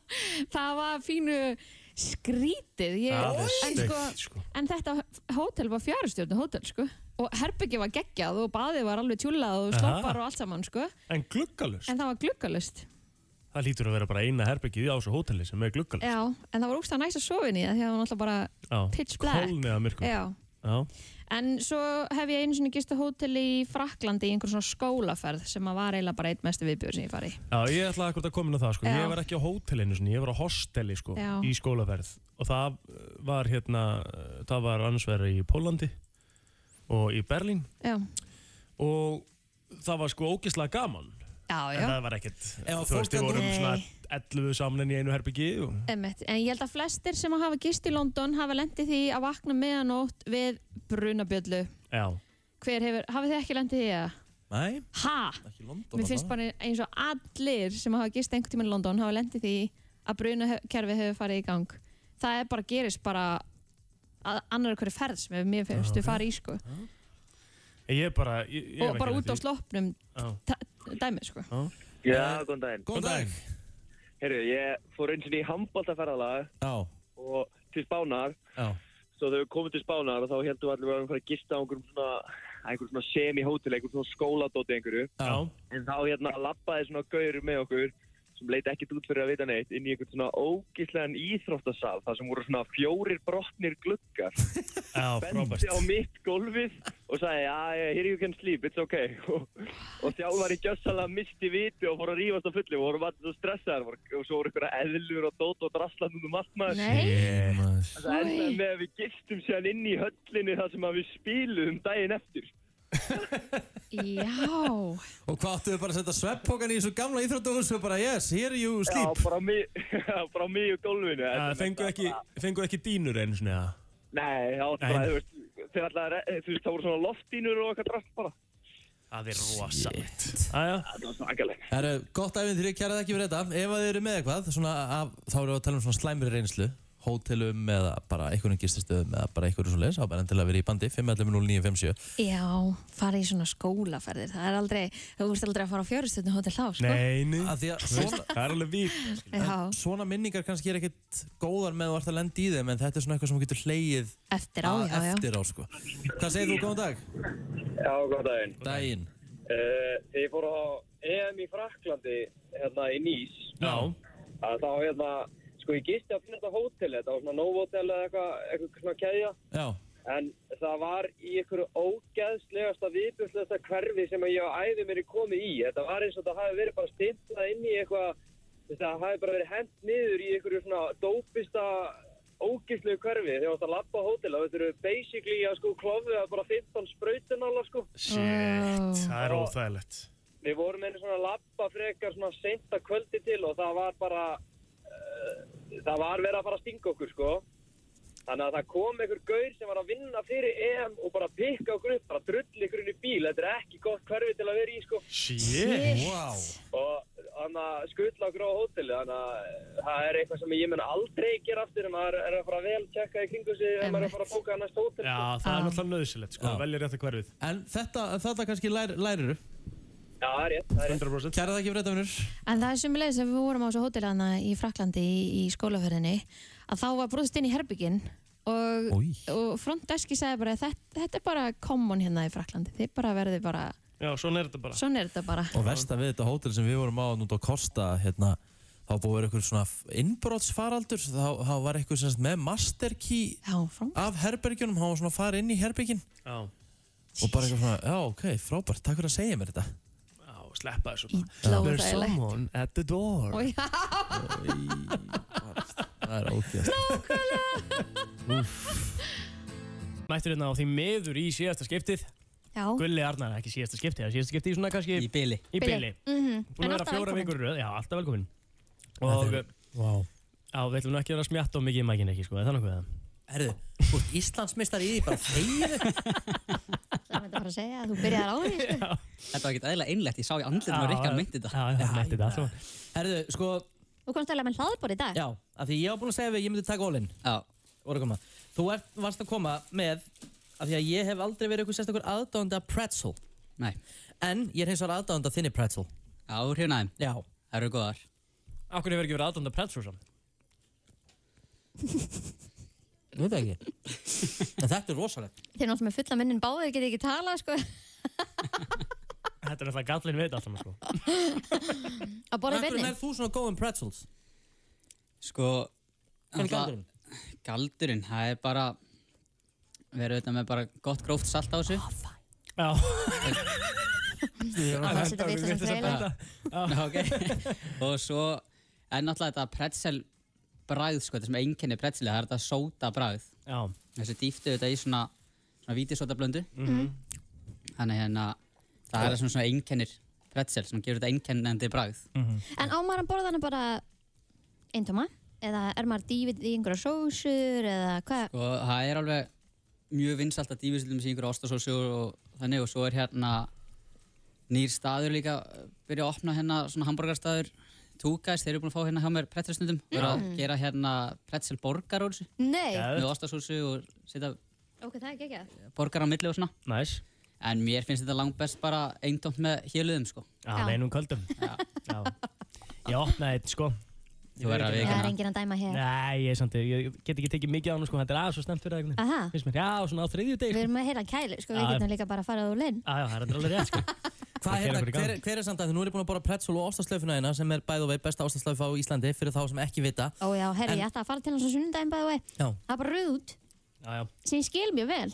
[SPEAKER 4] það var fínu skrítið ég,
[SPEAKER 2] Það er
[SPEAKER 4] en, sko,
[SPEAKER 2] steikt, sko.
[SPEAKER 4] en þetta hótel var fjárstjórnu hótel sko. og herbyggi var geggjað og baðið var alveg tjúlað og sloppar og allt saman sko.
[SPEAKER 2] En gluggalust?
[SPEAKER 4] en það var gluggalust
[SPEAKER 2] Það lítur að vera bara eina herbergið á þessu hóteli sem er gluggalust.
[SPEAKER 4] Já, en það var ógst að næsta sofin í það því að það var náttúrulega bara
[SPEAKER 2] Já.
[SPEAKER 4] pitch black
[SPEAKER 2] Kólnið að myrkum.
[SPEAKER 4] Já.
[SPEAKER 2] Já.
[SPEAKER 4] en svo hef ég einu sinni gist á hóteli í Fraklandi í einhver svona skólaferð sem að var eiginlega bara eitt mestu viðbjörn sem ég fari í.
[SPEAKER 2] Já, ég ætlaði akkur að koma inn á það sko.
[SPEAKER 4] Já.
[SPEAKER 2] Ég var ekki á hótelinu, svona. ég var á hosteli sko,
[SPEAKER 4] Já.
[SPEAKER 2] í skólaferð og það uh, var hérna, uh, það var annars verið í Pólandi og í Berlín
[SPEAKER 4] Já,
[SPEAKER 2] og það var sko ógislega gaman
[SPEAKER 4] já,
[SPEAKER 2] en
[SPEAKER 4] já.
[SPEAKER 2] það var ekkert,
[SPEAKER 1] Ef að
[SPEAKER 2] þú veist, við
[SPEAKER 1] fólk-
[SPEAKER 2] vorum
[SPEAKER 4] Nei.
[SPEAKER 2] svona 11 saman í einu herbyggi og...
[SPEAKER 4] Einmitt. En ég held að flestir sem hafa gist í London hafa lendið því að vakna meðanótt við brunabjöllu.
[SPEAKER 2] Já,
[SPEAKER 4] Hver hefur, hafið þið ekki lendið því að?
[SPEAKER 1] nei,
[SPEAKER 4] Ha?
[SPEAKER 1] ekki í London
[SPEAKER 4] Mér finnst
[SPEAKER 1] allavega.
[SPEAKER 4] bara eins og allir sem hafa gist einhvern tímann í London hafa lendið því að brunakerfið hefur farið í gang. Það er bara gerist bara að annar hverju ferð sem hefur mér fyrst við farið í sko.
[SPEAKER 2] En ég er bara ég, ég
[SPEAKER 4] Og bara út á sloppnum
[SPEAKER 2] slóð
[SPEAKER 4] ta- dæmi sko.
[SPEAKER 10] Já, góðan daginn.
[SPEAKER 1] góðan dag,
[SPEAKER 10] Herru, ég fór eins og í handbóltaferðalag
[SPEAKER 1] já,
[SPEAKER 10] og til Spánar.
[SPEAKER 1] já
[SPEAKER 10] Svo þegar við komum til Spánar og þá heldum við allir að við varum að fara að gista á einhverjum svona, einhverjum svona semi-hótel, einhverjum svona skóladóti einhverju.
[SPEAKER 2] Já,
[SPEAKER 10] En þá hérna lappaði svona gaur með okkur sem leit ekkert út fyrir að vita neitt inn í einhvern svona ógíslegan íþróttasal þar sem voru svona fjórir brotnir gluggar
[SPEAKER 2] já,
[SPEAKER 10] bendi á
[SPEAKER 2] frábært
[SPEAKER 10] mitt gólfið og sagði já, here you can sleep, it's okay og, og þjálfari gjössalega misti viti og fór að rífast á fullu og voru allir svo stressaðar voru- og svo voru einhverja eðlur og dót og draslan um allt maður
[SPEAKER 4] Nei,
[SPEAKER 1] Maður.
[SPEAKER 10] það endaði með að við gistum sér inn í höllinni þar sem að við spiluðum daginn eftir
[SPEAKER 4] já.
[SPEAKER 1] og hvað áttu bara að setja sveppókan í þessu gamla íþróttahús og bara yes, here you
[SPEAKER 10] já,
[SPEAKER 1] sleep
[SPEAKER 10] bara á mi- já, bara á miðju gólfinu
[SPEAKER 2] Já,
[SPEAKER 10] Þetta er
[SPEAKER 2] Fengu
[SPEAKER 10] bara-
[SPEAKER 2] ekki, fengu ekki dýnur einu svona eða?
[SPEAKER 10] nei, já,
[SPEAKER 2] Nei.
[SPEAKER 10] bara, þú veist þeir allar, þú veist, það voru svona loftínur og eitthvað drast bara
[SPEAKER 2] Það er rosalegt Æja,
[SPEAKER 10] það var svakalegt
[SPEAKER 1] Það eru gott æfintýri, kærað ekki fyrir þetta. Ef að þið eru með eitthvað, svona, af, þá eru við að tala um svona slæmri reynslu, hótelum eða bara einhverjum gististöðum eða bara einhverjum svoleiðis, þá bara endilega verið í bandi, 511-0957.
[SPEAKER 4] Já, farið í svona skólaferðir. Það er aldrei, þú veist aldrei að fara á fjörustöndu hótel þá sko.
[SPEAKER 2] nei, nei
[SPEAKER 1] Af því að svona,
[SPEAKER 2] Það er alveg vík
[SPEAKER 4] Já,
[SPEAKER 1] svona minningar kannski er ekkit góðar með að þú ert að lenda í þeim, en þetta er svona eitthvað sem þú getur hleið
[SPEAKER 4] eftir á,
[SPEAKER 2] Ah,
[SPEAKER 1] að
[SPEAKER 4] já, já.
[SPEAKER 1] eftir á, sko. Hvað segir þú, góðan dag?
[SPEAKER 10] já, góð daginn
[SPEAKER 1] Daginn.
[SPEAKER 10] Eh, Þegar ég fór E á EM í Fraklandi hérna í Nýs
[SPEAKER 2] Já,
[SPEAKER 10] að þá hérna Sko ég gisti á fleiri hóteli, þetta var svona Novotel eða eitthvað, eitthvað svona keðja.
[SPEAKER 1] Já.
[SPEAKER 10] En það var í einhverju ógeðslegasta, viðbjörnslegasta hverfi sem ég á æði mér komið í. Þetta var eins og það hafi verið bara stimplað inn í eitthvað, þú veist, það hafi bara verið hent niður í einhverju svona dópista, ógeðslegu hverfi. Þegar þú átt að labba á hótel, þá þetta eru basically að sko klofið að bara 15 sprautunála sko.
[SPEAKER 2] Shit, það er
[SPEAKER 10] Og-
[SPEAKER 2] óþægilegt.
[SPEAKER 10] Við vorum einu svona lappa frekar svona senta kvöldi til og það var bara, uh, það var verið að fara að stinga okkur sko. Þannig að það kom einhver gaur sem var að vinna fyrir EM og bara pikka okkur upp, bara drull ykkur inn í bíl, þetta er ekki gott hverfi til að vera í sko.
[SPEAKER 2] Shit. Wow.
[SPEAKER 10] Og þannig að skuttla okkur á hóteli, þannig að eh, það er eitthvað sem ég mun aldrei gera aftur en maður er að fara vel tjekka í kringu sig en maður er að fara að bóka næst hótel.
[SPEAKER 2] Já, það
[SPEAKER 4] Um,
[SPEAKER 2] er náttúrulega nöðsilegt, sko, velja rétt að hverfið.
[SPEAKER 1] En þetta, þetta kannski lær, læriru.
[SPEAKER 10] Já, það er rétt, það
[SPEAKER 2] er rétt. 100%.
[SPEAKER 1] Kæra það ekki fyrir þetta, vinnur.
[SPEAKER 4] En það er sömulegis að við vorum á þessu hótelana í Fraklandi í, í skólaferðinni að þá var brúðst inn í herbygginn og, og frontdeski sagði bara þetta, þetta er bara common hérna í Fraklandi þið bara verðið bara,
[SPEAKER 2] Já, svona er þetta bara.
[SPEAKER 4] svona er þetta bara
[SPEAKER 1] Og versta við þetta hótel sem við vorum á núnt á Kosta, hérna, þá búið að vera einhver svona innbrotsfaraldur, þá, þá var einhver sem sagt með master key
[SPEAKER 4] Já,
[SPEAKER 1] af herbergjunum, hann var svona að fara inn í herbergin
[SPEAKER 2] Já.
[SPEAKER 1] og bara eitthvað svona, já ok, frábært, takk fyrir að segja mér þetta.
[SPEAKER 2] Já, sleppa þessu bara.
[SPEAKER 1] Illa og
[SPEAKER 2] There's
[SPEAKER 1] þægilegt.
[SPEAKER 2] someone at the door.
[SPEAKER 4] og já,
[SPEAKER 1] Það er ógeðst.
[SPEAKER 2] Mættur hérna á því miður í síðasta skiptið.
[SPEAKER 4] Já.
[SPEAKER 2] Gulli Arnar, ekki síðasta skiptið, það er síðasta skiptið í svona kannski... Í byli. Í byli.
[SPEAKER 4] Mhm.
[SPEAKER 2] Búin að
[SPEAKER 4] En
[SPEAKER 2] vera
[SPEAKER 4] alltaf
[SPEAKER 2] fjóra
[SPEAKER 4] velkomin.
[SPEAKER 2] vikur í röð, já, alltaf velkomin. Og... Wow. Já, við ætlum nú ekki að vera að smjatta og mikið í mækinn ekki, sko, er það nokkuð það?
[SPEAKER 11] Herðu, þú ert Íslandsmeistar í því bara þeir
[SPEAKER 4] Það er bara að segja að þú byrjar á því sko.
[SPEAKER 11] Þetta var ekkert eðla einlegt, ég sá í
[SPEAKER 2] Já,
[SPEAKER 11] andlitinu og Rikka
[SPEAKER 2] já,
[SPEAKER 11] myndi þetta
[SPEAKER 2] Já, já, myndi þetta svo.
[SPEAKER 11] Herðu, sko,
[SPEAKER 4] Þú komst alveg með hlaðbor í dag
[SPEAKER 11] já, af því ég var búinn að segja við að ég myndi taka ólinn Já Voru að koma Þú ert, varst að koma með, af því að ég hef aldrei verið eitthvað sérstakur aðdánda pretzel Nei En ég er hins vegar aðdánda þinni pretzel Já, þú er hjónaðin Já Það eru góðar
[SPEAKER 2] Akkur hefur ekki verið aðdónda Predator saman?
[SPEAKER 11] Nú veit það ekki En þetta er rosalegt
[SPEAKER 4] Þeir náttúrulega með fulla munnin báðir geti ekki talað sko.
[SPEAKER 2] Þetta er alltaf gallin við þetta alltaf, sko.
[SPEAKER 4] að borða
[SPEAKER 11] Af hverju
[SPEAKER 4] beinni
[SPEAKER 11] nærð þú svona góðum pretzels?
[SPEAKER 12] Sko
[SPEAKER 11] Hver er
[SPEAKER 12] náttúrulega- Galdurinn, það er bara Við erum auðvitað með bara gott gróft salt á þessu
[SPEAKER 2] Já
[SPEAKER 12] Ég
[SPEAKER 4] var að Það setja við þessum þræla.
[SPEAKER 12] Ok Og svo En náttúrulega þetta pretzel bræð sko, þetta sem einkenni pretzel það er þetta sóta bræð
[SPEAKER 2] Já
[SPEAKER 12] Þessu dýftu þetta í svona svona vítisóta blöndu
[SPEAKER 2] Mhm.
[SPEAKER 12] Þannig hérna það er það sem svona einkennir pretzel sem gefur þetta einkennandi bræð
[SPEAKER 4] En á maður að borða hana bara eintóma? Eða er maður dýfið í einhverja sósur eða hvað?
[SPEAKER 12] Og Sko, það er alveg mjög vinsalt að dýfið sildum sig einhverja ostasósu og þannig og svo er hérna nýr staður líka eh, byrja að opna hérna svona hambúrgarstaður Túkæs, þeir eru búin að fá hérna hjá mér pretzelstundum og eru að
[SPEAKER 4] Já.
[SPEAKER 12] gera hérna pretzel borgar úr þessu
[SPEAKER 4] Nei.
[SPEAKER 12] með ostasósu og setja
[SPEAKER 4] Ok, það er ekki ekki.
[SPEAKER 12] borgar á milli og svona
[SPEAKER 2] Næs
[SPEAKER 12] En mér finnst þetta langt best bara eintómt með hjöluðum sko
[SPEAKER 2] Já, með einum köldum Já, já. Ég opnaði eitt, sko Ég
[SPEAKER 12] Þú verður að
[SPEAKER 2] veit ekki
[SPEAKER 4] Það er
[SPEAKER 2] hana.
[SPEAKER 4] enginn að dæma hér.
[SPEAKER 2] Nei, ég, samt, ég get ekki tekið mikið á hann, sko, þetta er aðeins svo snemt fyrir það einhvern
[SPEAKER 4] Aha.
[SPEAKER 2] veginn. Finnst mér, já, svona á þriðju deg
[SPEAKER 4] Við erum með heila kælu, sko,
[SPEAKER 2] Já.
[SPEAKER 4] við getum líka bara að fara á leinn.
[SPEAKER 2] Já, já, það er alveg rétt, sko
[SPEAKER 11] Hvað
[SPEAKER 2] keyra
[SPEAKER 11] hérna,
[SPEAKER 2] okkur í gang.
[SPEAKER 11] hver, hver er samt að því nú er ég búin að bora pretzel og ostaslaufuna hérna sem er bæð og veið besta ostaslaufa á Íslandi fyrir þá sem ekki vita
[SPEAKER 4] Ó já, herri,
[SPEAKER 11] En-
[SPEAKER 4] ég ætti að fara til hans á sunnudaginn bæði vei.
[SPEAKER 11] Já.
[SPEAKER 4] Það er bara rauð út,
[SPEAKER 2] Já, já
[SPEAKER 4] sem ég skil mjög vel.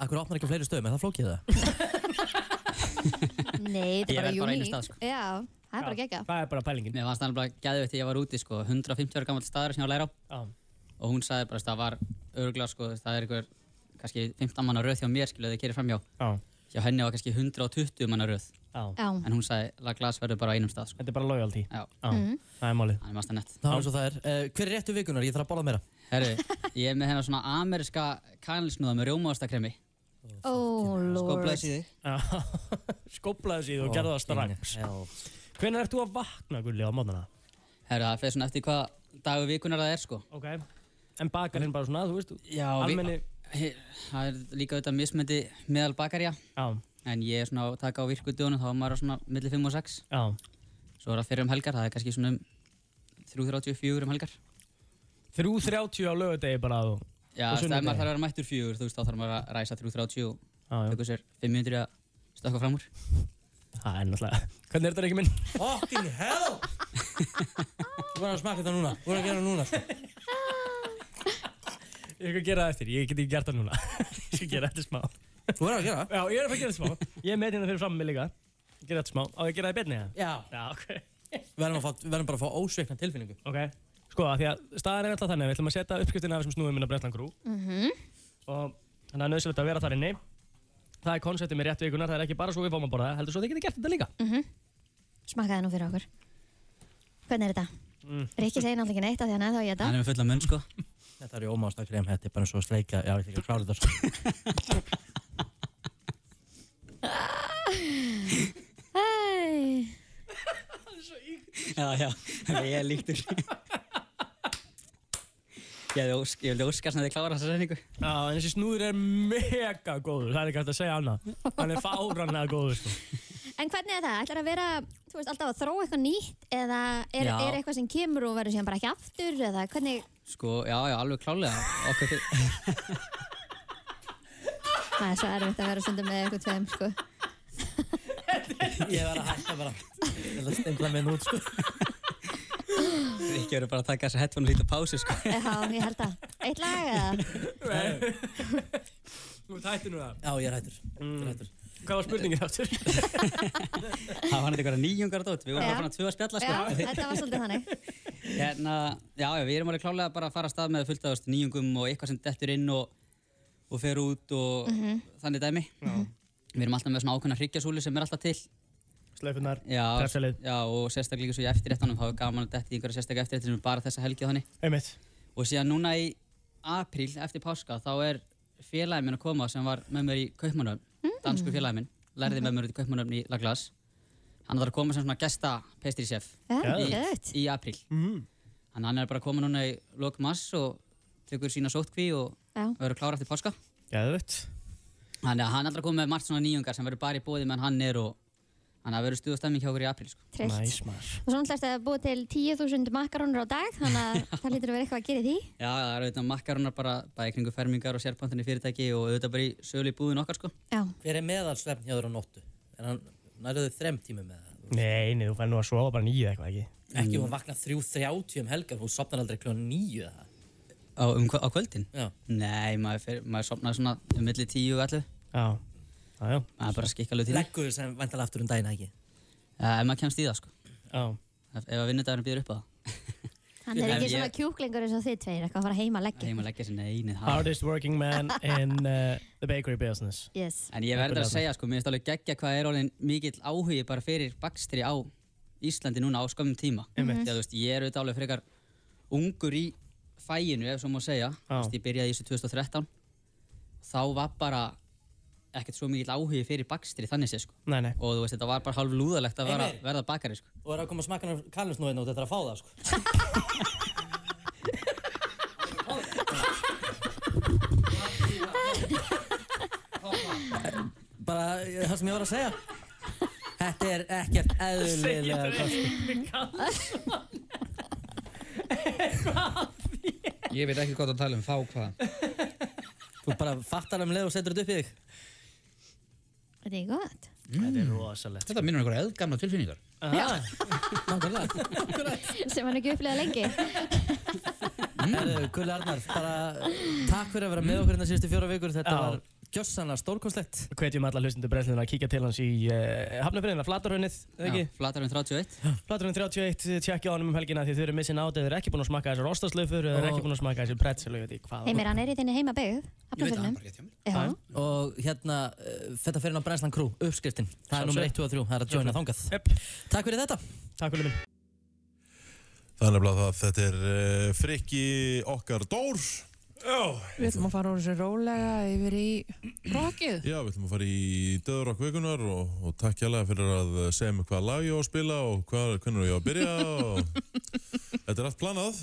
[SPEAKER 11] Akkur opnar ekki á fleiri stöðum, er það flókið það?
[SPEAKER 4] Nei, þetta
[SPEAKER 12] Ég
[SPEAKER 4] er bara
[SPEAKER 12] verð
[SPEAKER 4] uník.
[SPEAKER 12] bara á einu stað, sko.
[SPEAKER 4] Já, það er bara gegga.
[SPEAKER 2] Það er bara pælingin
[SPEAKER 12] Mér fannst það alveg gæðið þegar ég var úti sko 150 ára gammal staður sem ég var að læra á
[SPEAKER 2] Já.
[SPEAKER 12] og hún sagði bara að það var öruglega sko það er einhver kannski 15 manna röð hjá mér skiluðu þið kerir framhjá
[SPEAKER 2] Já.
[SPEAKER 12] hjá henni var kannski 120 manna röð
[SPEAKER 2] Já.
[SPEAKER 11] Já.
[SPEAKER 12] en hún sagði að glas verður bara á einum stað sko.
[SPEAKER 2] Þetta er bara loyalty
[SPEAKER 12] Já.
[SPEAKER 2] Já. Mhm. Það er málið
[SPEAKER 12] Það er mástan nett
[SPEAKER 11] Það er eins og það er. Uh, hver er réttu vikunar? Ég þarf að borða meira.
[SPEAKER 12] Herru, ég er með hennar svona ameriska kanilsnúða með rjómaostakremi
[SPEAKER 4] Ó, lord.
[SPEAKER 12] Skóplaði síði
[SPEAKER 2] Skóplaði síði og gerði það strax Hvernig ert þú að vakna, Gulli, á mótnana?
[SPEAKER 12] Herru, það fer svona eftir hvað dagu vikunar það er sko
[SPEAKER 2] Ok, en bakar hinn bara svona, þú veist
[SPEAKER 12] Já,
[SPEAKER 2] Almenni-
[SPEAKER 12] vi, það er líka auðvitað mismöndi meðal bakarja
[SPEAKER 2] Já.
[SPEAKER 12] En ég er svona að taka á virkudugunum, þá er maður á svona milli 5 og 6
[SPEAKER 2] Já.
[SPEAKER 12] Svo er það fyrir um helgar, það er kannski svona um 3.34 um helgar
[SPEAKER 2] 3.30 á lögadegi bara þú
[SPEAKER 12] Já,
[SPEAKER 2] á
[SPEAKER 12] þú veist, ef maður
[SPEAKER 2] sunnudegi.
[SPEAKER 12] þarf að vera mættur 4, þú veist, þá þarf maður að ræsa 3.30 og
[SPEAKER 2] Já, já.
[SPEAKER 12] tökur sér 5 minnir að stökka fram úr
[SPEAKER 2] Það er náttúrulega Hvernig er þetta ekki minn?
[SPEAKER 11] Fucking hell! Þú verður að smaka þetta núna, þú verður að gera það núna sko.
[SPEAKER 13] Ég skal gera það eftir, ég get ekki gert það núna Ég skal gera það eftir smá Þú
[SPEAKER 11] verður að gera
[SPEAKER 13] það? Já, ég er að fara að gera það smá Ég er með hérna fyrir fram mig líka Ég gera þetta smá Á, ég gera það í betni það?
[SPEAKER 11] Já,
[SPEAKER 13] Já, ok
[SPEAKER 11] Við verðum, að fá, við verðum bara að fá ósveikna tilfinningu
[SPEAKER 13] Ok, sko, af því að staðan er alltaf þannig að Við ætlum að setja uppskriftina af þessum snúðum minna Breslan Crew Og þannig að nöðsilegt að vera þar inni Það er konseptið með rétt vikunar, það er ekki bara svo við fáum að borða Heldur svo þið getið gert þetta líka
[SPEAKER 14] Smakkaði nú fyrir okkur. Hvernig er þetta?
[SPEAKER 13] mm.
[SPEAKER 14] Rikki segir náttúrulega ekki neitt af því hann er þá í þetta.
[SPEAKER 11] er með fulla munn sko Þetta er í ómásta krem, þetta er bara eins og að sleika Já, ég ætla ekki að klára þetta sko
[SPEAKER 14] Æ,
[SPEAKER 12] Já, já, ég er líktur Ég hefði ós- ég hefði óskast að þið klára þessa sendingu
[SPEAKER 13] Já, en þessi snúður er mega góður, það er ekki hægt að segja annað. Hann er fáránlega góður, sko.
[SPEAKER 14] En hvernig er það? Ætlar að vera, þú veist, alltaf að þróa eitthvað nýtt eða er,
[SPEAKER 12] Já.
[SPEAKER 14] er eitthvað sem kemur og verður síðan bara ekki aftur eða hvernig,
[SPEAKER 12] Sko, já, já, alveg klálega Okkur þið
[SPEAKER 14] það er svo erfitt að vera stundum með eitthvað tveim, sko.
[SPEAKER 11] Ég verð að hætta bara Ég verð að stengla minn út sko
[SPEAKER 12] Rikki verður bara að taka þessa headphone og lítið pásu, sko
[SPEAKER 14] Já, ég held að. Eitt lag eða?
[SPEAKER 13] Þú ert hættur nú það?
[SPEAKER 11] Já, ég er hættur. Mm. hættur.
[SPEAKER 13] Hvað var spurningin áttur?
[SPEAKER 12] Það var nætti eitthvað nýjungar dót Við vorum
[SPEAKER 14] Já.
[SPEAKER 12] bara fann að tvö að spjalla,
[SPEAKER 14] Já,
[SPEAKER 12] sko
[SPEAKER 14] þetta var svolítið þannig.
[SPEAKER 12] Hérna, já, já, við erum alveg klálega bara að fara að stað með fullt af þú veist, nýjungum og eitthvað sem dettur inn og, og fer út og
[SPEAKER 14] Mhm.
[SPEAKER 12] þannig dæmi Við erum alltaf með svona ákveðna hryggjasúlu sem er alltaf til
[SPEAKER 13] Slöfunar,
[SPEAKER 12] Já,
[SPEAKER 13] Prepsalið.
[SPEAKER 12] já, og sérstaklega líka svo í eftirréttunum þá er gaman að detti í einhverja sérstaklega eftirréttir sem er bara þessa helgi og þannig
[SPEAKER 13] Einmitt.
[SPEAKER 12] Og síðan núna í apríl eftir páska þá er félagin minn að koma sem var með mér í Kaupmannöfn
[SPEAKER 14] Mm.
[SPEAKER 12] dansku félagin minn,
[SPEAKER 14] Mhm.
[SPEAKER 12] lærði með mér út í Kaupmannöfn í Laglas Hann þarf að koma sem svona gesta pastry chef
[SPEAKER 14] Já,
[SPEAKER 12] í,
[SPEAKER 14] gött.
[SPEAKER 12] í apríl Þannig að hann er bara að koma núna í lok mass og tekur sína sótkví og
[SPEAKER 14] Já.
[SPEAKER 12] verður klára eftir páska
[SPEAKER 13] Gæðvögt.
[SPEAKER 12] Þannig að hann er alltaf að koma með margt svona nýjungar sem verður bara í bóði meðan hann er og þannig að verður stuð og stemming hjá okkur í apríl sko.
[SPEAKER 14] Trillt. Nice, Og svona ætlaði að búa til 10.000 makarónur á dag, þannig að það lítur að vera eitthvað að gera í því.
[SPEAKER 12] Já, það eru auðvitað makkarunar bara bæði kringu fermingar og sérpantanir fyrirtæki og auðvitað bara í sölu í búðin okkar sko.
[SPEAKER 14] Já.
[SPEAKER 11] Hver er meðalsvefn hjá þér á nóttu? Er hann nærðuð þrem tímum með það?
[SPEAKER 13] Nei, nei, þú fær nú að sofa bara nýju eitthvað, ekki?
[SPEAKER 11] Ekki hún vakna þrjú þrjátíu um helgar, hún sopnar aldrei kljóðan nýju eða það.
[SPEAKER 12] Á, um, kvö- á kvöldin?
[SPEAKER 11] Já.
[SPEAKER 12] Nei, maður, fer, maður sopnar svona um milli tíu og allu.
[SPEAKER 13] Já. Já, já.
[SPEAKER 12] Maður bara skikka alveg tíma.
[SPEAKER 11] Leggur sem væntalega aftur um daginn, ekki?
[SPEAKER 12] Ja, ef maður kemst í það sko.
[SPEAKER 13] Já.
[SPEAKER 12] Ef, ef að vinnudagurinn býður upp á það.
[SPEAKER 14] Hann er
[SPEAKER 12] Ef
[SPEAKER 14] ekki
[SPEAKER 12] ég-
[SPEAKER 14] svona kjúklingur eins og þið tveir, eitthvað að fara heima að leggja.
[SPEAKER 12] Heima leggja sinni einu.
[SPEAKER 13] Hardest working man in uh, the bakery business.
[SPEAKER 14] Yes.
[SPEAKER 12] En ég verður að segja sko, mér finnst alveg geggja hvað er orðin mikill áhugi bara fyrir bakstri á Íslandi núna á skömmum tíma.
[SPEAKER 13] Einmitt.
[SPEAKER 12] Þegar þú veist, ég er auðvitað alveg frekar ungur í fæginu ef svo má segja. Þú veist, ég byrjaði í þessu 2013. Þá var bara ekkert svo mikill áhugi fyrir bakstri þannig sé sko.
[SPEAKER 13] Nei, nei.
[SPEAKER 12] Og þú veist, þetta var bara hálf lúðalegt að vera,
[SPEAKER 11] Heimir.
[SPEAKER 12] verða bakari sko.
[SPEAKER 11] Og er að koma smakkanar kallinsnóðin út eftir að fá það, sko. Bara eh, það sem ég var að segja. Þetta er ekkert eðlilega gott, sko.
[SPEAKER 7] Ég veit ekki hvað það tala um, fá hvað.
[SPEAKER 11] Þú bara fattar um leið og setur þetta upp í þig.
[SPEAKER 14] Þetta er gott.
[SPEAKER 13] Þetta er rosalegt.
[SPEAKER 7] Þetta minnur einhverja eðgamla tilfinningar.
[SPEAKER 14] Sem hann ekki upplegað lengi.
[SPEAKER 11] Herru, Gulli Arnar, bara takk fyrir að vera með okkur hérna síðustu fjóra vikur. Þetta
[SPEAKER 13] Já.
[SPEAKER 11] var gjössanlega stórkostlegt.
[SPEAKER 13] Hvetjum alla hlustundu brennsluna að kíkja til hans í uh, Hafnarfjörðina, Flatarhaunnið, eða ekki?
[SPEAKER 12] Flatarhaunnið 31.
[SPEAKER 13] Flatarhaunnið 31, tjekkja á hann um helgina því þau eru missin át, eða þau eru ekki búin að smakka þessar ostaslöfur, eða þau eru
[SPEAKER 11] Og-
[SPEAKER 13] ekki búin að smakka þessar pretzel, ég veit ekki hvað.
[SPEAKER 14] Heimir, hann er í þinni heima
[SPEAKER 11] veit það, hann
[SPEAKER 14] byggð. Já.
[SPEAKER 11] Og hérna, eh, þetta fyrir á Brænslan Crew, uppskriftin. Það er nummer 1, 2 og 3, það er að joina þangað. Takk fyrir þetta.
[SPEAKER 13] Takk fyrir mig.
[SPEAKER 15] Þannig að það, þetta er uh, frikki okkar Dór. Já.
[SPEAKER 16] Við ætlum að fara úr þessu rólega yfir í rokið.
[SPEAKER 15] Já, við ætlum að fara í Döðurokk vikunar og, og takk hérlega fyrir að segja mig hvað lag ég á að spila og hvað, hvernig ég á að byrja og þetta er allt planað.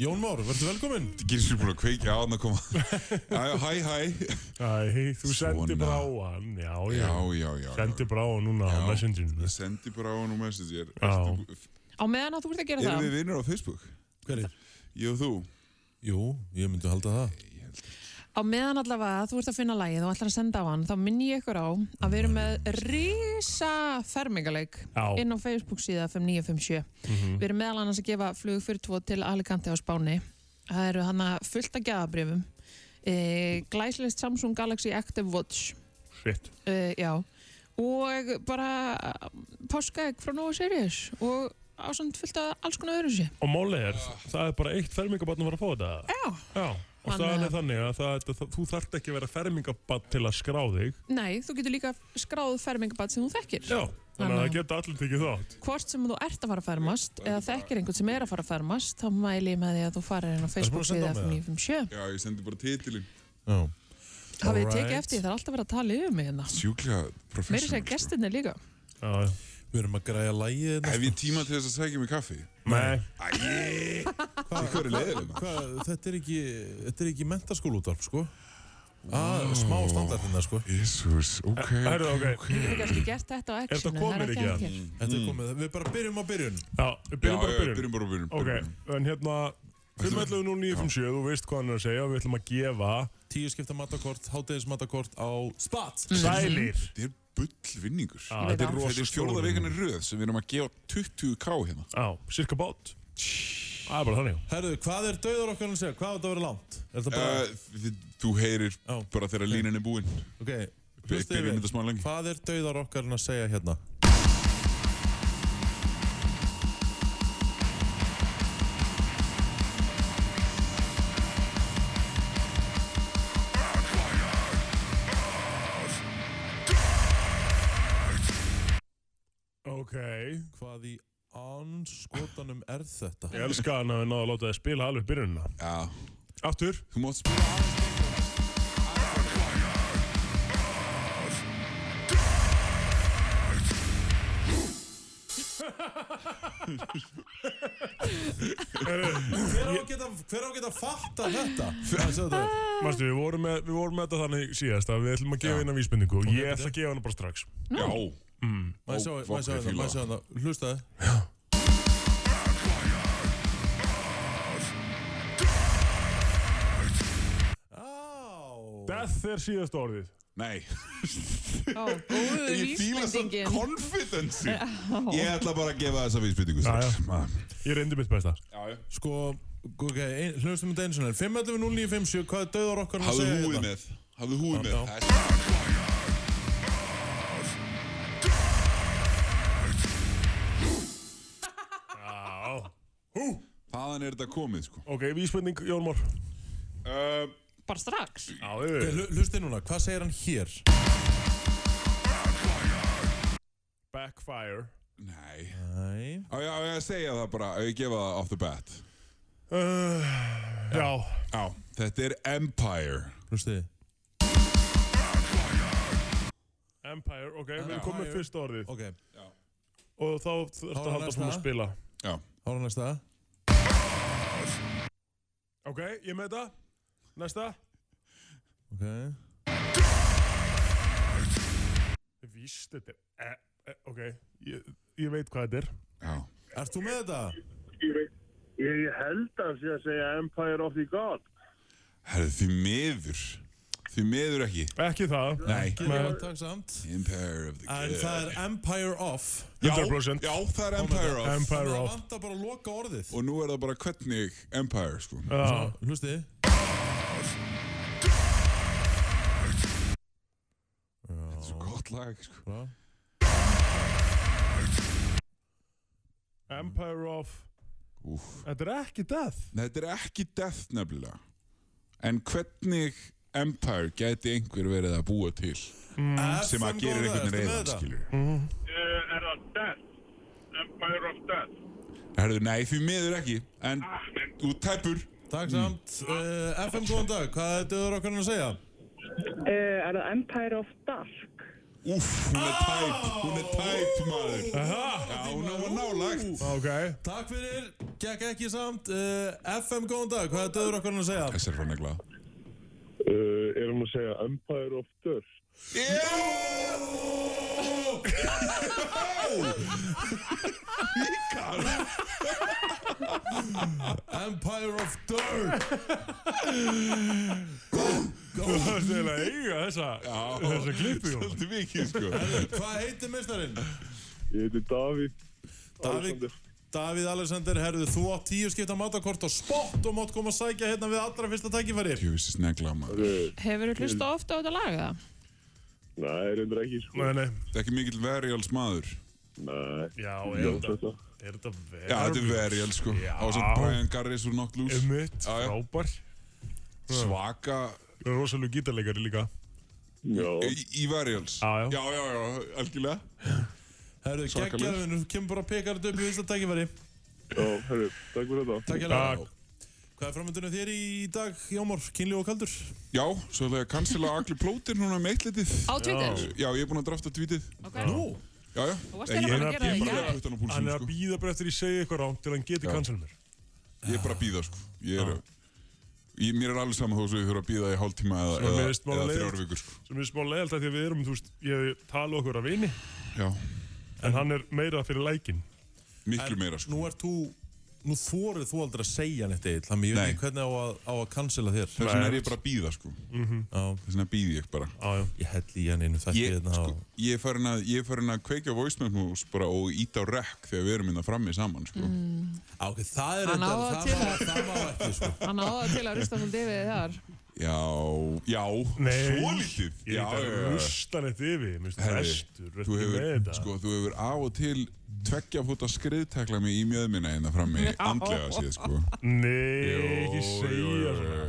[SPEAKER 15] Jón Már, verður velkominn.
[SPEAKER 17] Þetta gerir sér búin að kveikja á hann að koma Já, já, hæ, hæ Hæ, þú
[SPEAKER 15] sendir bara á
[SPEAKER 17] hann Já,
[SPEAKER 15] já.
[SPEAKER 17] já, já, já Sendir bara á hann núna á Messenger Ég sendi bara á hann á Messenger Ertu-
[SPEAKER 16] Á meðan að þú ert að gera
[SPEAKER 17] Erum
[SPEAKER 16] það.
[SPEAKER 17] við vinnur á Facebook? Hverir? Ég og þú
[SPEAKER 15] Jú, ég myndi halda það
[SPEAKER 16] Á á meðan allavega þú ert að finna lægið og ætlar að senda á hann þá minni ég ykkur á að við erum með rísa fermingaleik
[SPEAKER 9] Já.
[SPEAKER 16] inn á Facebook síða 5957 Við erum meðal annars að gefa flug fyrir tvo til Alicante á Spáni. Það eru hann að fullta gjafabrifum. E, glæslist Samsung Galaxy Active Watch.
[SPEAKER 18] Shit.
[SPEAKER 16] E, já. Og bara eh, páskaegg frá Nova Sirius og ásand fullt af alls konar öðru sér.
[SPEAKER 18] Og málið er, það er bara eitt fermingabann að fara að fá þetta.
[SPEAKER 16] Já.
[SPEAKER 18] Já. Og
[SPEAKER 16] Þannig
[SPEAKER 18] staðan
[SPEAKER 16] að-
[SPEAKER 18] er þannig að það, það, það, þú þarft ekki að vera fermingabann til að skrá þig.
[SPEAKER 16] Nei, þú getur líka skráð fermingabat sem þú þekkir.
[SPEAKER 18] Já. Þannig að
[SPEAKER 16] Þannig
[SPEAKER 18] það
[SPEAKER 16] að-
[SPEAKER 18] geta allir tekið þátt.
[SPEAKER 16] Hvort sem þú ert að fara að fermast eða þekkir einhvern sem er að fara að fermast þá mæli ég með því að þú farir inn á Facebook síða 5957.
[SPEAKER 17] Já, ég sendi bara titilinn.
[SPEAKER 15] Já.
[SPEAKER 16] Hafið þið tekið eftir, því, það er alltaf verið að tala yfir mig hérna.
[SPEAKER 17] Sjúklega
[SPEAKER 16] Meiri segja
[SPEAKER 17] professional. sko.
[SPEAKER 16] gestirni líka.
[SPEAKER 18] Já,
[SPEAKER 15] Við erum að græja lægið
[SPEAKER 17] Hef ég tíma til þess að segja mig kaffi?
[SPEAKER 18] Nei.
[SPEAKER 17] Æi. Hvað er leiðilegum?
[SPEAKER 15] Hvað, þetta er ekki, þetta er ekki mentaskóluútarp, sko. Ah, smá standardina, sko.
[SPEAKER 17] Jésús, ok,
[SPEAKER 15] Herðu, ok.
[SPEAKER 16] Við hefum kannski gert þetta á
[SPEAKER 17] Hérna,
[SPEAKER 15] Er þetta
[SPEAKER 16] actionu, það
[SPEAKER 15] komið
[SPEAKER 16] er
[SPEAKER 15] ekki
[SPEAKER 16] ekki
[SPEAKER 15] það?
[SPEAKER 16] ekki.
[SPEAKER 15] Þetta er komið, við bara byrjum á byrjun.
[SPEAKER 18] Já, við byrjum
[SPEAKER 15] Já,
[SPEAKER 18] bara
[SPEAKER 15] já,
[SPEAKER 18] á byrjun.
[SPEAKER 15] byrjum bara á byrjun,
[SPEAKER 18] Ok,
[SPEAKER 15] byrjum.
[SPEAKER 18] en hérna, 511-0957, þú veist hvað hann er að segja, við ætlum að gefa...
[SPEAKER 15] Tíu skipta matakort, hátegis matakort á spot.
[SPEAKER 18] Sælir.
[SPEAKER 17] Þetta er bullvinningur.
[SPEAKER 15] Já, Ég veit þetta er það. rosa
[SPEAKER 17] Þetta er fjórða
[SPEAKER 15] stór
[SPEAKER 17] veginn röð sem við erum að gefa 20k hérna.
[SPEAKER 18] Já, cirka bát. Það er bara þannig.
[SPEAKER 15] Herðu, hvað er döður okkar að segja? Hvað á þetta að vera langt? Er
[SPEAKER 17] Uh,
[SPEAKER 15] þetta bara...
[SPEAKER 17] Þú heyrir bara þegar línan er búinn.
[SPEAKER 15] ok,
[SPEAKER 17] Við
[SPEAKER 15] hlustaðu
[SPEAKER 17] byrjum
[SPEAKER 15] við.
[SPEAKER 17] þetta smá lengi.
[SPEAKER 15] Hvað er döðar okkar að segja hérna?
[SPEAKER 18] Ok.
[SPEAKER 15] Hvað í anskotanum er þetta?
[SPEAKER 18] Ég elska hann að við náðum að láta þið spila alveg byrjunina.
[SPEAKER 17] Já.
[SPEAKER 18] Aftur.
[SPEAKER 17] Þú mátt spila aðeins
[SPEAKER 15] Hver á að geta, hver á að geta fatta þetta?
[SPEAKER 18] Marstu, við vorum, með, við vorum með þetta þannig síðast að við ætlum að gefa eina vísbendingu og ég ætla að gefa hana bara strax.
[SPEAKER 17] Já.
[SPEAKER 18] Mm.
[SPEAKER 15] Maður sjá maður sjá þetta, maður sjá þetta. Hlustaðu.
[SPEAKER 18] Death er síðast orðið.
[SPEAKER 17] Nei.
[SPEAKER 16] Ó, góðu
[SPEAKER 17] Ég fíla samt
[SPEAKER 16] vísbendingin.
[SPEAKER 17] confidence. Ég
[SPEAKER 16] Já.
[SPEAKER 17] ætla bara að gefa þessa vísbyttingu strax.
[SPEAKER 18] Ég reyndi mitt besta.
[SPEAKER 15] Sko, ok, ein- hlustum þetta eins og nefn. 511-0957, hvað er döðar okkar að
[SPEAKER 17] Hafðu
[SPEAKER 15] segja
[SPEAKER 17] húið
[SPEAKER 15] hérna?
[SPEAKER 17] með. Hafðu húið
[SPEAKER 15] Já,
[SPEAKER 17] með.
[SPEAKER 15] já.
[SPEAKER 18] Já.
[SPEAKER 17] Þaðan er þetta komið, sko.
[SPEAKER 18] Ok, vísbending, Jón Mór.
[SPEAKER 16] Bara strax.
[SPEAKER 18] Já,
[SPEAKER 15] Ok, hlu- Hlustaðu Eh, núna, hvað segir hann hér?
[SPEAKER 18] Backfire.
[SPEAKER 17] Nei.
[SPEAKER 15] Nei.
[SPEAKER 17] Á, já, á ég að segja það bara. Á ég að gefa það off the bat.
[SPEAKER 18] Já.
[SPEAKER 17] Já. Þetta er Empire.
[SPEAKER 15] Hlustaðu.
[SPEAKER 18] Empire, ok, við erum komið fyrst orðið.
[SPEAKER 15] Ok.
[SPEAKER 18] Og þá þurftu
[SPEAKER 15] Þá er
[SPEAKER 18] að halda
[SPEAKER 15] næsta.
[SPEAKER 18] fram að spila.
[SPEAKER 17] Já.
[SPEAKER 15] Hára næsta.
[SPEAKER 18] Ok, ég er með þetta. Næsta.
[SPEAKER 15] Ok.
[SPEAKER 18] Víst, þetta er... e- e- Ok, ég, ég veit hvað þetta er.
[SPEAKER 15] Ert þú með þetta?
[SPEAKER 19] Ég held að sé að segja Empire of the God.
[SPEAKER 17] Herðu, því miður. Því miður ekki.
[SPEAKER 18] Ekki það.
[SPEAKER 17] Nei.
[SPEAKER 15] Ekki það, takk samt. Eh,
[SPEAKER 17] Empire of the God.
[SPEAKER 15] En það er Empire Off.
[SPEAKER 17] Já, 100%. já, það er Empire of. Empire
[SPEAKER 15] Það
[SPEAKER 17] of.
[SPEAKER 15] vantar bara að loka orðið.
[SPEAKER 17] Og nú er það bara hvernig Empire, sko.
[SPEAKER 18] Já.
[SPEAKER 15] Hlustaðu.
[SPEAKER 17] Þetta er svo gott lag, sko.
[SPEAKER 15] Já.
[SPEAKER 18] Empire of...
[SPEAKER 17] Úf.
[SPEAKER 18] Þetta er ekki death.
[SPEAKER 17] Nei, Þetta er ekki death nefnilega. En hvernig Empire gæti einhver verið að búa til sem að gera einhvern reyðan, skilur.
[SPEAKER 19] Uh, er það Death? Empire of Death?
[SPEAKER 17] Herðu, nei, því miður ekki. En þú tæpur.
[SPEAKER 15] Takk samt. Uh, FM, góðan dag. Hvað er döður okkar að segja?
[SPEAKER 9] er það Empire of Dark?
[SPEAKER 17] Úff, hún er tæp, hún er tæp, maður. Já, hún var nálagt.
[SPEAKER 18] Ok.
[SPEAKER 15] Takk fyrir. Gekk ekki samt. Uh, FM, góðan dag. Hvað er döður okkar að segja?
[SPEAKER 17] Þessi er frá negla.
[SPEAKER 19] Uh, er hann að segja Empire of Dirt?
[SPEAKER 15] Empire of Dirt. Hvað
[SPEAKER 2] Það er til að eiga þessa, þessa klippu Jón.
[SPEAKER 17] Svolítið mikið sko
[SPEAKER 15] Hvað heitir mestarinn?
[SPEAKER 18] Ég heiti Davíð
[SPEAKER 15] Davíð Davíð Alexander, herðu, þú átt tíu skipta matakort á spott og mátt koma að sækja hérna við allra fyrsta tækifæri
[SPEAKER 17] Tjóðis snegla maður
[SPEAKER 16] Hefur þú hlusta ofta á þetta lag eða?
[SPEAKER 17] Nei, reyndur ekki sko
[SPEAKER 2] Nei, nei
[SPEAKER 17] Það er ekki mikill verjals maður
[SPEAKER 18] Nei
[SPEAKER 2] Já,
[SPEAKER 17] Já,
[SPEAKER 2] er þetta
[SPEAKER 17] þetta.
[SPEAKER 2] Er þetta
[SPEAKER 17] Já, þetta er verjal sko Ásand Brian Garris úr Knock Loose
[SPEAKER 2] Einmitt,
[SPEAKER 17] Já, já.
[SPEAKER 2] Um frábær
[SPEAKER 17] Svaka
[SPEAKER 2] Rosalug gítarleikari líka
[SPEAKER 18] Já
[SPEAKER 17] Í, í verjals Já, já, já, já, algjörlega
[SPEAKER 15] Herðu,
[SPEAKER 17] Svakalegur.
[SPEAKER 15] geggjaður,
[SPEAKER 2] um
[SPEAKER 15] þú kemur bara að peka þetta upp í fyrsta tækifæri
[SPEAKER 18] Já, herru, takk fyrir þetta
[SPEAKER 15] Takk hérna Hvað er framöndunum þér í dag, Jómor, kynli og kaldur?
[SPEAKER 17] Já, svo ætla ég að cancela allir plótir núna með eitletið
[SPEAKER 16] Á Twitter?
[SPEAKER 17] Já, ég er búinn að drafta tweetið
[SPEAKER 16] Ok. Nú?
[SPEAKER 17] Já, já
[SPEAKER 16] Þú varst eiginlega
[SPEAKER 17] Ég-
[SPEAKER 16] bara að gera
[SPEAKER 17] Ég er
[SPEAKER 16] það í
[SPEAKER 17] bara
[SPEAKER 16] gær.
[SPEAKER 17] að putta hann á sko. púlsinu
[SPEAKER 2] Hann er að býða bara eftir ég segi eitthvað rámt til hann geti
[SPEAKER 17] Já.
[SPEAKER 2] cancel mér
[SPEAKER 17] Ég er bara að býða sko Ég er ég, Mér er alveg saman þó sem ég þurfa að býða í hálftíma eða,
[SPEAKER 2] Sem er
[SPEAKER 17] eða,
[SPEAKER 2] mér smá
[SPEAKER 17] eða
[SPEAKER 2] leiðilegt.
[SPEAKER 17] þrjár vikur sko
[SPEAKER 2] sem er smá leiðalt að því að við erum, þú veist, ég tala okkur að vini
[SPEAKER 17] Já
[SPEAKER 2] en hann er meira fyrir lækin
[SPEAKER 17] Miklu meira sko.
[SPEAKER 15] Nú ert þú, nú þórið þú aldrei að segja neitt eitt Þannig ég veit
[SPEAKER 17] Nei.
[SPEAKER 15] ekki hvernig á að, á að cancela þér
[SPEAKER 17] Þess vegna er ég bara að býða sko
[SPEAKER 15] Mhm.
[SPEAKER 17] Þess vegna býð ég bara
[SPEAKER 2] já.
[SPEAKER 15] Ég hell í hann einu þætti
[SPEAKER 17] Ég,
[SPEAKER 15] hérna
[SPEAKER 17] sko,
[SPEAKER 15] á
[SPEAKER 17] ég er farin að, ég er farin að kveikja voice memos bara og íta á rec þegar við erum innan frammi saman sko.
[SPEAKER 16] Mm.
[SPEAKER 15] Á, ok, það
[SPEAKER 16] Hann á það til að-
[SPEAKER 15] það má ekki sko
[SPEAKER 16] Hann áða til að rusta svolítið við þar
[SPEAKER 17] Já, já,
[SPEAKER 2] Nei,
[SPEAKER 17] svolítið
[SPEAKER 2] ég er ekki
[SPEAKER 17] Já, já,
[SPEAKER 2] að
[SPEAKER 17] já.
[SPEAKER 2] rusta neitt yfir Mér finnst
[SPEAKER 17] Herri,
[SPEAKER 2] vestur,
[SPEAKER 17] þú
[SPEAKER 2] verður með
[SPEAKER 17] hefur,
[SPEAKER 2] þetta
[SPEAKER 17] sko, þú hefur af og til tveggja fóta skriðtekla mig í mjöðmina hérna frammi, andlega séð, sko.
[SPEAKER 2] Nei, ekki segja
[SPEAKER 17] svona.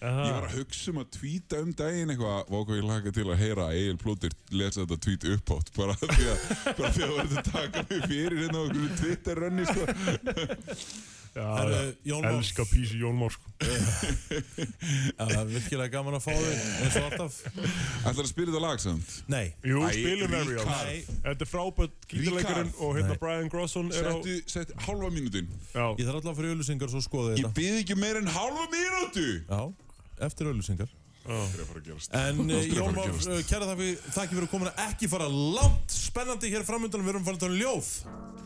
[SPEAKER 2] Aha.
[SPEAKER 17] Ég var að hugsa um að tvíta um daginn eitthvað, vá hvað ég laka til að heyra Egil Plótir lesa þetta tvít uppátt, bara því að, bara því að verður að taka mig fyrir hérna á einhverju Twitter-rönni, sko.
[SPEAKER 2] Já,
[SPEAKER 15] Herru, Eh, Jón Már.
[SPEAKER 2] elska písi Jón Már sko.
[SPEAKER 15] Það er virkilega gaman að fá þig eins og alltaf
[SPEAKER 17] Ætlar að spila þetta lag samt?
[SPEAKER 15] Nei
[SPEAKER 2] Jú,
[SPEAKER 17] Æ,
[SPEAKER 2] spilum Ariel
[SPEAKER 17] Ríkharð.
[SPEAKER 2] Þetta er frábært gítarleikarinn
[SPEAKER 17] Ríkharð.
[SPEAKER 2] og hérna oh,
[SPEAKER 17] Nei.
[SPEAKER 2] Brian Grosson er á
[SPEAKER 17] Settu, settu hálfa mínútin.
[SPEAKER 2] Já.
[SPEAKER 15] Ég þarf alltaf að fyrir auðlýsingar svo skoða
[SPEAKER 17] Ég
[SPEAKER 15] þetta
[SPEAKER 17] byði ekki meir en hálfa mínútu!
[SPEAKER 15] Já, eftir auðlýsingar
[SPEAKER 17] Það er að fara að gerast.
[SPEAKER 15] En eh,
[SPEAKER 17] Það er að fara
[SPEAKER 15] Jón
[SPEAKER 17] að
[SPEAKER 15] Már,
[SPEAKER 17] gerast.
[SPEAKER 15] eh, kæra þakki, þakki fyrir að koma ekki fara langt spennandi hér framöndanum, við erum farin að tala um ljóð